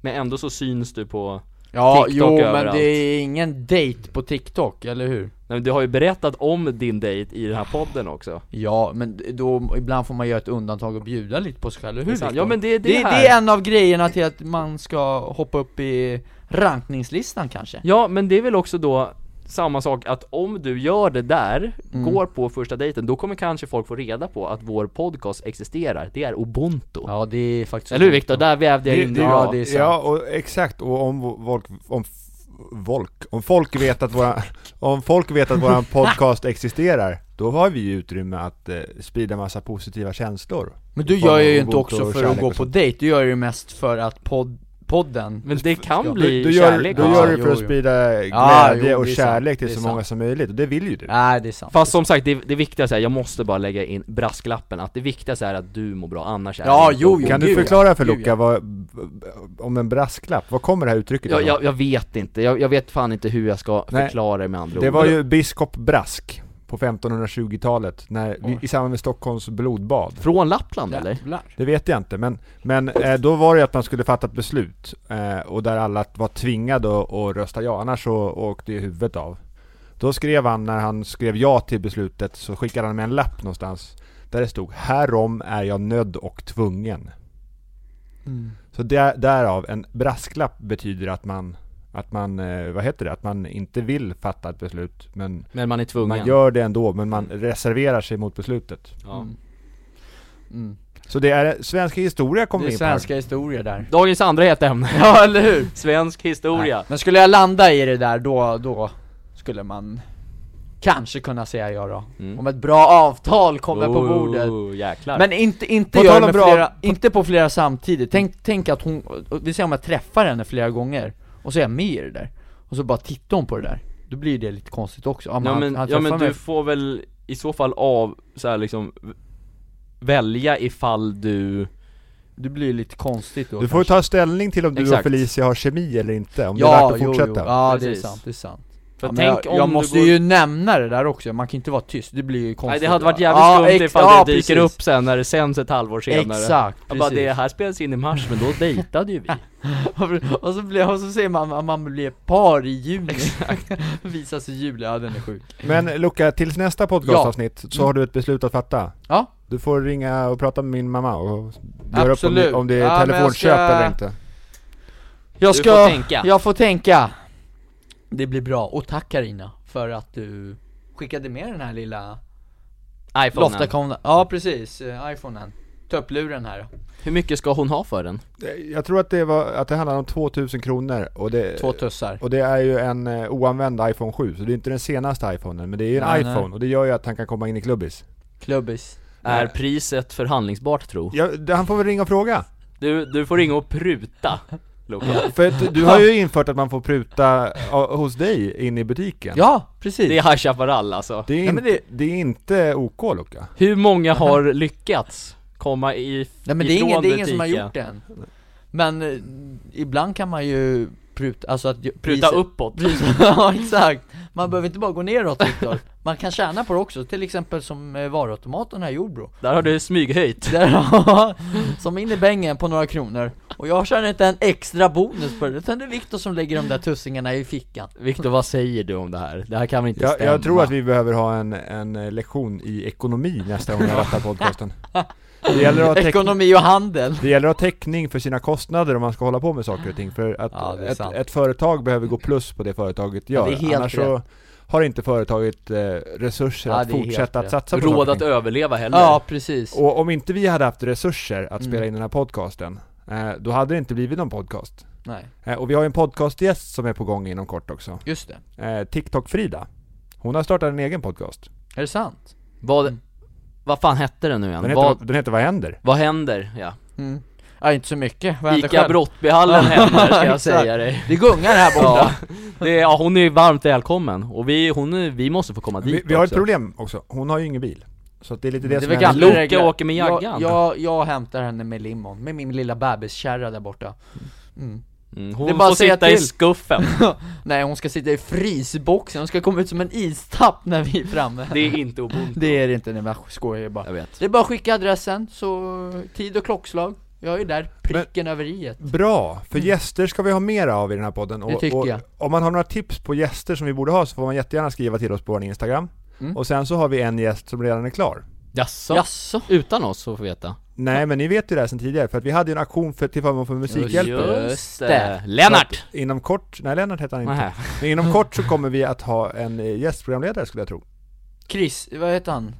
Speaker 4: Men ändå så syns du på
Speaker 3: Ja,
Speaker 4: TikTok
Speaker 3: jo men
Speaker 4: överallt.
Speaker 3: det är ingen date på TikTok, eller hur?
Speaker 4: Nej, men du har ju berättat om din dejt i den här podden också
Speaker 3: Ja, men då, ibland får man göra ett undantag och bjuda lite på sig själv, eller
Speaker 4: Det är
Speaker 3: hur?
Speaker 4: sant.
Speaker 3: Viktor?
Speaker 4: Ja, men det är det
Speaker 3: det,
Speaker 4: här.
Speaker 3: är en av grejerna till att man ska hoppa upp i rankningslistan kanske
Speaker 4: Ja men det är väl också då samma sak att om du gör det där, går på första dejten, då kommer kanske folk få reda på att vår podcast existerar Det är ubuntu
Speaker 3: Ja, det är faktiskt
Speaker 4: Eller hur Viktor? Där vävde jag
Speaker 1: Det-
Speaker 4: in
Speaker 1: det-
Speaker 4: det bra
Speaker 3: ja, det är sant.
Speaker 1: Ja, och exakt. Och om vo- folk, om f- folk, om folk vet att våra, om folk vet att våran
Speaker 4: <laughs>
Speaker 1: podcast existerar, då har vi ju utrymme att eh, sprida massa positiva känslor.
Speaker 3: Men du
Speaker 1: I form
Speaker 3: gör
Speaker 1: av
Speaker 3: ju inte
Speaker 1: Ubuntu
Speaker 3: också
Speaker 1: och
Speaker 3: för att
Speaker 1: kärlek
Speaker 3: gå
Speaker 1: och
Speaker 3: på
Speaker 1: sånt.
Speaker 3: dejt, du gör det ju mest för att pod- podden
Speaker 4: Men det kan bli
Speaker 1: du, du gör,
Speaker 4: kärlek alltså.
Speaker 1: Du
Speaker 4: också.
Speaker 1: gör det för
Speaker 3: Jo,
Speaker 1: att
Speaker 3: jo.
Speaker 1: sprida
Speaker 3: Ja,
Speaker 1: glädje
Speaker 3: jo,
Speaker 1: och
Speaker 3: det är
Speaker 1: kärlek
Speaker 3: sant.
Speaker 1: till
Speaker 3: Det är
Speaker 1: så
Speaker 3: sant.
Speaker 1: många som möjligt, och det vill ju du.
Speaker 3: Nej, det är sant
Speaker 4: Fast som sagt, det, det viktigaste är, jag måste bara lägga in brasklappen att det viktigaste är att du mår bra, annars är
Speaker 3: Ja,
Speaker 4: det inte
Speaker 3: jo,
Speaker 4: okej.
Speaker 3: jo.
Speaker 1: Kan du
Speaker 3: gud,
Speaker 1: förklara för
Speaker 3: Gud,
Speaker 1: Luca vad, b- b- om en brasklapp, vad kommer det här uttrycket
Speaker 4: jag,
Speaker 1: ifrån?
Speaker 4: jag, jag vet inte, jag, jag vet fan inte hur jag ska
Speaker 1: Nej.
Speaker 4: förklara det med andra
Speaker 1: Det
Speaker 4: ord
Speaker 1: var ju biskop Brask på 1520-talet, när, vi- i samband med Stockholms blodbad.
Speaker 4: Från Lappland eller?
Speaker 3: Jävlar.
Speaker 1: Det vet jag inte, men, men eh, då var det ju att man skulle fatta ett beslut eh, och där alla var tvingade att, att rösta ja, annars så åkte ju huvudet av. Då skrev han, när han skrev ja till beslutet, så skickade han med en lapp någonstans där det stod ”Härom är jag nödd och tvungen”.
Speaker 3: Mm.
Speaker 1: Så där, därav, en brasklapp betyder att man, att man, eh, vad heter det, att man inte vill fatta ett beslut, men
Speaker 4: Men man är tvungen
Speaker 1: man gör det ändå, men man reserverar sig mot beslutet.
Speaker 4: ja.
Speaker 3: Mm.
Speaker 1: Så det är, svenska historia
Speaker 3: Det
Speaker 1: kommer
Speaker 3: är
Speaker 1: in på här.
Speaker 3: svenska historier där
Speaker 4: Dagens andra heta ämne,
Speaker 3: Ja, eller hur?
Speaker 4: <laughs> svensk historia
Speaker 3: Nej. Men skulle jag landa i det där då, då skulle man kanske kunna säga ja då.
Speaker 4: Mm.
Speaker 3: Om ett bra avtal kommer på
Speaker 4: Oh,
Speaker 3: bordet.
Speaker 4: jäklar
Speaker 3: Men inte, inte
Speaker 1: På
Speaker 3: jag
Speaker 1: tal om
Speaker 3: med
Speaker 1: bra-
Speaker 3: flera, inte på flera samtidigt. Tänk, tänk att hon, vi säger om jag träffar henne flera gånger, och så är jag med i det där. Och så bara tittar hon på det där. Då blir det lite konstigt också. Om
Speaker 4: Ja
Speaker 3: han,
Speaker 4: men,
Speaker 3: han
Speaker 4: ja,
Speaker 3: träffar
Speaker 4: men
Speaker 3: mig.
Speaker 4: du får väl i så fall av, så här liksom Välja ifall du,
Speaker 3: det blir lite konstigt då
Speaker 1: Du får ju
Speaker 3: kanske.
Speaker 1: ta ställning till om du
Speaker 4: Exakt.
Speaker 1: och Felicia har kemi eller inte, om det är
Speaker 3: Ja,
Speaker 1: värt att
Speaker 3: jo, jo.
Speaker 1: fortsätta.
Speaker 3: ja det är
Speaker 4: Precis.
Speaker 3: sant, det är sant.
Speaker 4: för
Speaker 3: Ja, men
Speaker 4: tänk
Speaker 3: jag,
Speaker 4: om
Speaker 3: jag
Speaker 4: du
Speaker 3: måste
Speaker 4: går...
Speaker 3: ju nämna det där också, man kan inte vara tyst, det blir ju konstigt
Speaker 4: Nej det hade varit
Speaker 3: då.
Speaker 4: jävligt
Speaker 3: Ja,
Speaker 4: skumt
Speaker 3: ex-
Speaker 4: ifall
Speaker 3: ja,
Speaker 4: det dyker
Speaker 3: precis.
Speaker 4: upp sen när det sänds ett halvår senare
Speaker 3: Exakt,
Speaker 4: Jag bara,
Speaker 3: precis.
Speaker 4: det här spelas in i mars,
Speaker 3: <laughs>
Speaker 4: men då dejtade ju vi
Speaker 3: Varför- <laughs> och, så blir, och så säger man att man blir par i juni <laughs> Visar sig i juli, ja den är sjuk
Speaker 1: Men Luca, tills nästa podcastavsnitt så har du ett beslut att fatta.
Speaker 3: Ja,
Speaker 1: Du får ringa och prata med min mamma och göra upp om
Speaker 3: Absolut.
Speaker 1: det, om det är
Speaker 3: Ja, men jag
Speaker 1: telefonköp
Speaker 3: ska-
Speaker 1: eller inte.
Speaker 3: jag
Speaker 4: Du
Speaker 3: ska,
Speaker 4: får tänka.
Speaker 3: jag får tänka Det blir bra, och tack Karina för att du skickade med den här lilla
Speaker 4: iPhonen.
Speaker 3: loftakomna Ja precis, eh, iPhonen, töppluren här
Speaker 4: Hur mycket ska hon ha för den?
Speaker 1: Eh, Jag tror att det, var, att det handlar om 2000 kronor och det,
Speaker 4: Eh.
Speaker 3: Två tussar
Speaker 1: och det är ju en eh, oanvänd iPhone 7 så det är inte den senaste iPhonen men det är ju en
Speaker 3: Nej, nej.
Speaker 1: iPhone och det gör ju att han kan komma in i klubbis.
Speaker 3: Klubbis
Speaker 4: Är priset förhandlingsbart tro?
Speaker 1: Ja, det- han får väl ringa och
Speaker 3: <laughs>
Speaker 1: fråga.
Speaker 4: Du, du får ringa och pruta, Luka.
Speaker 1: För att du har ju infört att man får pruta ja, hos dig in i butiken.
Speaker 3: Ja, precis!
Speaker 4: Det är High Chaparral alltså.
Speaker 1: Det, är
Speaker 3: Ja,
Speaker 1: in,
Speaker 3: men
Speaker 1: det...
Speaker 3: det-
Speaker 1: är inte OK Luca.
Speaker 3: <laughs>
Speaker 4: Hur många har lyckats komma i,
Speaker 3: Nej men det är,
Speaker 4: ifrån
Speaker 3: ingen, det är ingen som har
Speaker 4: butiken?
Speaker 3: gjort det än Men eh, ibland kan man ju pruta, alltså att ju-
Speaker 4: pruta
Speaker 3: priset-
Speaker 4: uppåt?
Speaker 3: Precis, <laughs> ja exakt! Man behöver inte bara gå neråt Viktor, man kan tjäna på det också, till exempel som eh, varuautomaten här i Jordbro <laughs>
Speaker 4: Där har du smyghöjt.
Speaker 3: Där, Som in i bängen på några kronor, och jag tjänar inte en extra bonus på det, utan det är Viktor som lägger de där tussingarna i fickan
Speaker 4: Viktor, vad säger du om det här? Det här kan väl inte
Speaker 1: Jag,
Speaker 4: stämma?
Speaker 1: jag tror att vi behöver ha en, en eh, lektion i ekonomi nästa gång vi rattar podcasten. Det gäller, att ha täck,
Speaker 3: Ekonomi och handel!
Speaker 1: det gäller att ha täckning för sina kostnader om man ska hålla på med saker och ting. För att
Speaker 3: Ja, det är
Speaker 1: ett,
Speaker 3: sant.
Speaker 1: ett företag behöver gå plus på det företaget
Speaker 3: Ja,
Speaker 1: gör.
Speaker 3: det är helt
Speaker 1: Annars så har inte företaget eh, resurser
Speaker 3: Ja,
Speaker 1: att
Speaker 3: det är helt
Speaker 1: fortsätta att
Speaker 3: rätt.
Speaker 1: satsa på
Speaker 4: Råd
Speaker 1: saker och
Speaker 4: att
Speaker 1: ting.
Speaker 4: överleva heller.
Speaker 3: Ja precis,
Speaker 1: Och om inte vi hade haft resurser att
Speaker 3: Mm.
Speaker 1: spela in den här podcasten, eh, då hade det inte blivit någon podcast.
Speaker 3: nej,
Speaker 1: Eh, Och vi har ju en podcastgäst som är på gång inom kort också.
Speaker 3: just det,
Speaker 1: Eh, TikTok-Frida. Hon har startat en egen podcast.
Speaker 3: är det sant?
Speaker 4: Vad,
Speaker 3: Mm.
Speaker 4: vad fan hette den nu igen?
Speaker 1: Den heter,
Speaker 4: vad,
Speaker 1: den heter Vad händer?
Speaker 4: vad händer? Ja.
Speaker 3: Mm. Ja inte så mycket, vad händer
Speaker 4: Ica
Speaker 3: själv?
Speaker 4: Brottbyhallen händer, ska jag
Speaker 3: exakt.
Speaker 4: säga dig.
Speaker 3: Det gungar här borta!
Speaker 4: Ja, det är, ja, hon är varmt välkommen och vi, hon är, vi måste få komma dit
Speaker 1: Vi, vi har ett
Speaker 4: också.
Speaker 1: problem också. Hon har ju ingen bil. Så att det är lite det,
Speaker 3: Det
Speaker 1: som
Speaker 3: var
Speaker 1: är-
Speaker 3: gamla
Speaker 4: Loke
Speaker 3: regler.
Speaker 4: åker med
Speaker 3: Jag,
Speaker 4: jaggan.
Speaker 3: jag, jag hämtar henne med limon, med min lilla bebiskärra där borta mm.
Speaker 4: Mm, hon
Speaker 3: Det är bara
Speaker 4: får
Speaker 3: att säga
Speaker 4: sitta i
Speaker 3: till.
Speaker 4: skuffen.
Speaker 3: <laughs> Nej hon ska sitta i frysboxen, hon ska komma ut som en istapp när vi är framme
Speaker 4: Det är inte obont. <laughs>
Speaker 3: Det är det inte, nej men jag skojar bara
Speaker 4: Jag vet.
Speaker 3: Det är bara att skicka adressen, så tid och klockslag Jag är där, pricken över i ett
Speaker 1: Bra! För gäster ska vi ha mer av i den här podden. Och,
Speaker 3: Det tycker
Speaker 1: och,
Speaker 3: jag.
Speaker 1: Om man har några tips på gäster som vi borde ha så får man jättegärna skriva till oss på vår Instagram.
Speaker 3: Mm.
Speaker 1: Och sen så har vi en gäst som redan är klar.
Speaker 4: Jaså?
Speaker 3: Jaså?
Speaker 5: Utan oss får vi veta
Speaker 1: Nej men ni vet ju det här sen tidigare för att vi hade ju en auktion för, till förmån för Musikhjälpen.
Speaker 4: Just det. Lennart!
Speaker 1: Inom kort, nej Lennart heter han inte.
Speaker 4: Nähä.
Speaker 1: Men inom kort så kommer vi att ha en eh, gästprogramledare skulle jag tro.
Speaker 3: Chris, vad heter han?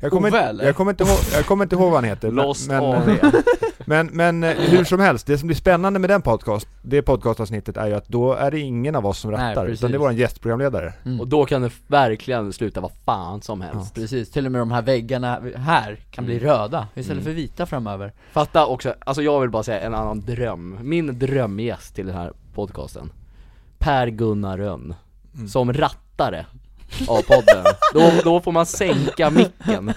Speaker 1: Jag kommer,
Speaker 3: Ove,
Speaker 1: inte,
Speaker 3: eller?
Speaker 1: jag, kommer inte ihåg, jag kommer inte ihåg vad han heter. men-
Speaker 4: Lost
Speaker 1: men,
Speaker 3: eh,
Speaker 4: AV.
Speaker 1: <laughs> men, men eh, hur som helst, det som blir spännande med den podcast, det podcastavsnittet är ju att då är det ingen av oss som
Speaker 3: Nej,
Speaker 1: rattar,
Speaker 3: precis.
Speaker 1: utan det är vår gästprogramledare.
Speaker 3: Mm.
Speaker 4: Och då kan det verkligen sluta vad fan som helst.
Speaker 3: Precis, till och med de här väggarna här kan bli röda istället för vita framöver
Speaker 4: Fatta också, alltså jag vill bara säga en annan dröm. Min drömgäst till den här podcasten. Per-Gunnar Rönn. Som rattare av podden. då, då får man sänka micken.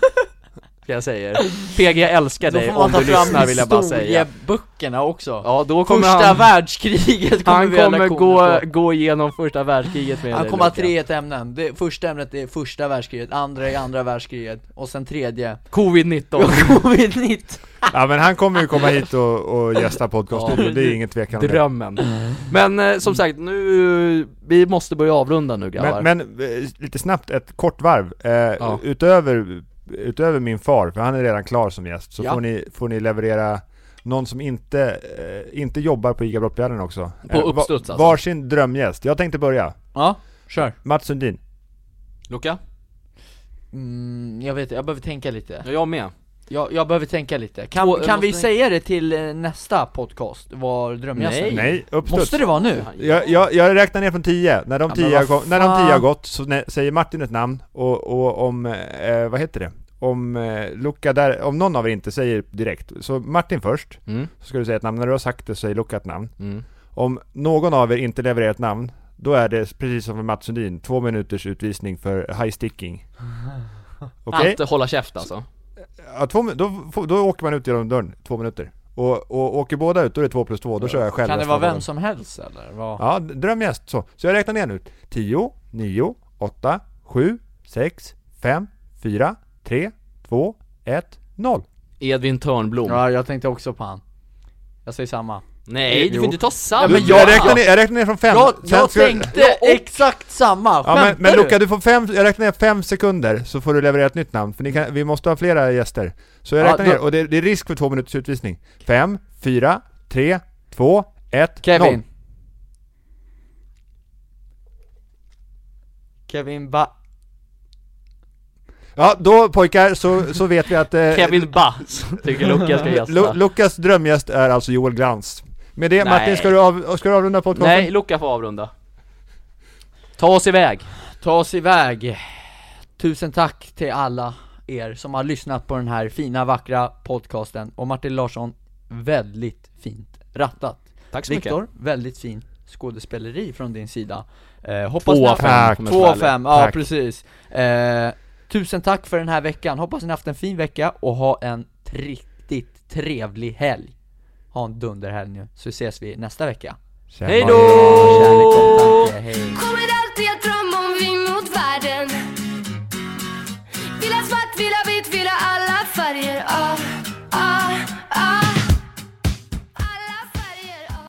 Speaker 4: Ska jag säga. PG jag älskar dig om du lyssnar vill jag bara säga.
Speaker 3: historieböckerna också
Speaker 4: Ja då kommer
Speaker 3: Första
Speaker 4: han,
Speaker 3: världskriget kommer
Speaker 4: han
Speaker 3: vi göra
Speaker 4: kommer
Speaker 3: lektioner
Speaker 4: gå,
Speaker 3: på.
Speaker 4: gå igenom första världskriget med
Speaker 3: Han
Speaker 4: dig,
Speaker 3: kommer ha
Speaker 4: Luka.
Speaker 3: tre ämnen, det första ämnet är första världskriget, andra är andra världskriget, och sen tredje
Speaker 4: Covid-19.
Speaker 3: Mm. Covid-19!
Speaker 1: Ja men han kommer ju komma hit och, och gästa podcasten,
Speaker 4: Ja.
Speaker 1: och det är ingen tvekan om det.
Speaker 4: Drömmen. Men eh, som sagt, nu, vi måste börja avrunda nu grabbar.
Speaker 1: Men, men eh, lite snabbt, ett kort varv. Eh,
Speaker 4: Ja.
Speaker 1: utöver, utöver min far, för han är redan klar som gäst, så
Speaker 3: Ja.
Speaker 1: får, ni, får ni leverera någon som inte, eh, inte jobbar på ICA Brottbjörnen också. Eh,
Speaker 4: På
Speaker 1: va-
Speaker 4: uppstuds alltså.
Speaker 1: Varsin drömgäst. Jag tänkte börja.
Speaker 3: Ja, kör!
Speaker 1: Mats Sundin.
Speaker 4: Luka?
Speaker 3: Mm, jag vet jag behöver tänka lite,
Speaker 4: Ja, jag med.
Speaker 3: jag, jag behöver tänka lite, kan,
Speaker 4: Två-
Speaker 3: kan vi
Speaker 4: måste-
Speaker 3: säga det till eh, nästa podcast, var drömgästen?
Speaker 4: Nej.
Speaker 1: Nej, uppstuds.
Speaker 3: Måste det vara nu?
Speaker 1: Jag, jag, jag räknar ner från 10, när de
Speaker 3: Ja,
Speaker 1: 10
Speaker 3: men vad
Speaker 1: har, gå- när de 10 har
Speaker 3: fan.
Speaker 1: gått så nä- säger Martin ett namn och, och om, eh, vad heter det? Om eh, Luca där, om någon av er inte säger direkt, så Martin först,
Speaker 5: Mm.
Speaker 1: så ska du säga ett namn, när du har sagt det så säger Luca ett namn.
Speaker 5: Mm.
Speaker 1: Om någon av er inte levererar ett namn, då är det precis som för Mats Sundin, två minuters utvisning för high
Speaker 3: <laughs>
Speaker 1: sticking. Okej?
Speaker 5: Att hålla käft alltså
Speaker 1: Ja, två min- då, får- då åker man ut genom dörren, två minuter. Och, och åker båda ut, då är det två plus två, då kör jag själv
Speaker 3: Kan det
Speaker 1: resten
Speaker 3: vara
Speaker 1: av dagen.
Speaker 3: vem som helst eller? Vad?
Speaker 1: Ja, d- drömgäst så. Så jag räknar ner nu. 10, 9, 8, 7, 6, 5, 4, 3, 2, 1, 0.
Speaker 4: Edvin Törnblom.
Speaker 3: Ja, jag tänkte också på han Jag säger samma
Speaker 4: Nej, du
Speaker 1: Jo.
Speaker 4: får inte ta samma.
Speaker 3: Ja, men
Speaker 1: jag,
Speaker 3: jag-
Speaker 1: räknar ner, jag räknar ner från 5.
Speaker 3: Jag, jag tänkte exakt samma,
Speaker 1: Ja, men, men
Speaker 3: Skämtar
Speaker 1: Luca, du får fem, jag räknar ner 5 sekunder så får du leverera ett nytt namn, för ni kan, vi måste ha flera gäster. Så jag
Speaker 3: Ja,
Speaker 1: räknar
Speaker 3: då-
Speaker 1: ner, och det, det är risk för två minuters utvisning. 5, 4, 3, 2, 1, 0.
Speaker 3: Kevin
Speaker 2: Kevin Ba...
Speaker 1: Ja, då pojkar så, så vet vi att eh,
Speaker 4: Kevin Bass tycker Lukas ska
Speaker 1: Lu-
Speaker 4: gästa.
Speaker 1: Lukas drömgäst är alltså Joel Glans. Med det Martin,
Speaker 4: Nej.
Speaker 1: ska du, av, ska du avrunda podcasten?
Speaker 4: Nej, Luca får avrunda. Ta oss iväg.
Speaker 3: Ta oss iväg. Tusen tack till alla er som har lyssnat på den här fina, vackra podcasten. Och Martin Larsson, väldigt fint rattat.
Speaker 4: Tack så mycket.
Speaker 3: Viktor, väldigt fin skådespeleri från din sida. Eh, hoppas
Speaker 4: Två
Speaker 3: ni
Speaker 4: av
Speaker 3: har-
Speaker 4: fem.
Speaker 1: Tack.
Speaker 4: kommer
Speaker 3: Två av
Speaker 4: jag säga.
Speaker 3: fem, ja
Speaker 1: Tack.
Speaker 3: precis. Eh, tusen tack för den här veckan, hoppas ni haft en fin vecka och ha en riktigt trevlig helg. Ha en dunderhelg nu, så ses vi nästa vecka.
Speaker 1: Tjena.
Speaker 4: Hej då!
Speaker 6: Ah, ah.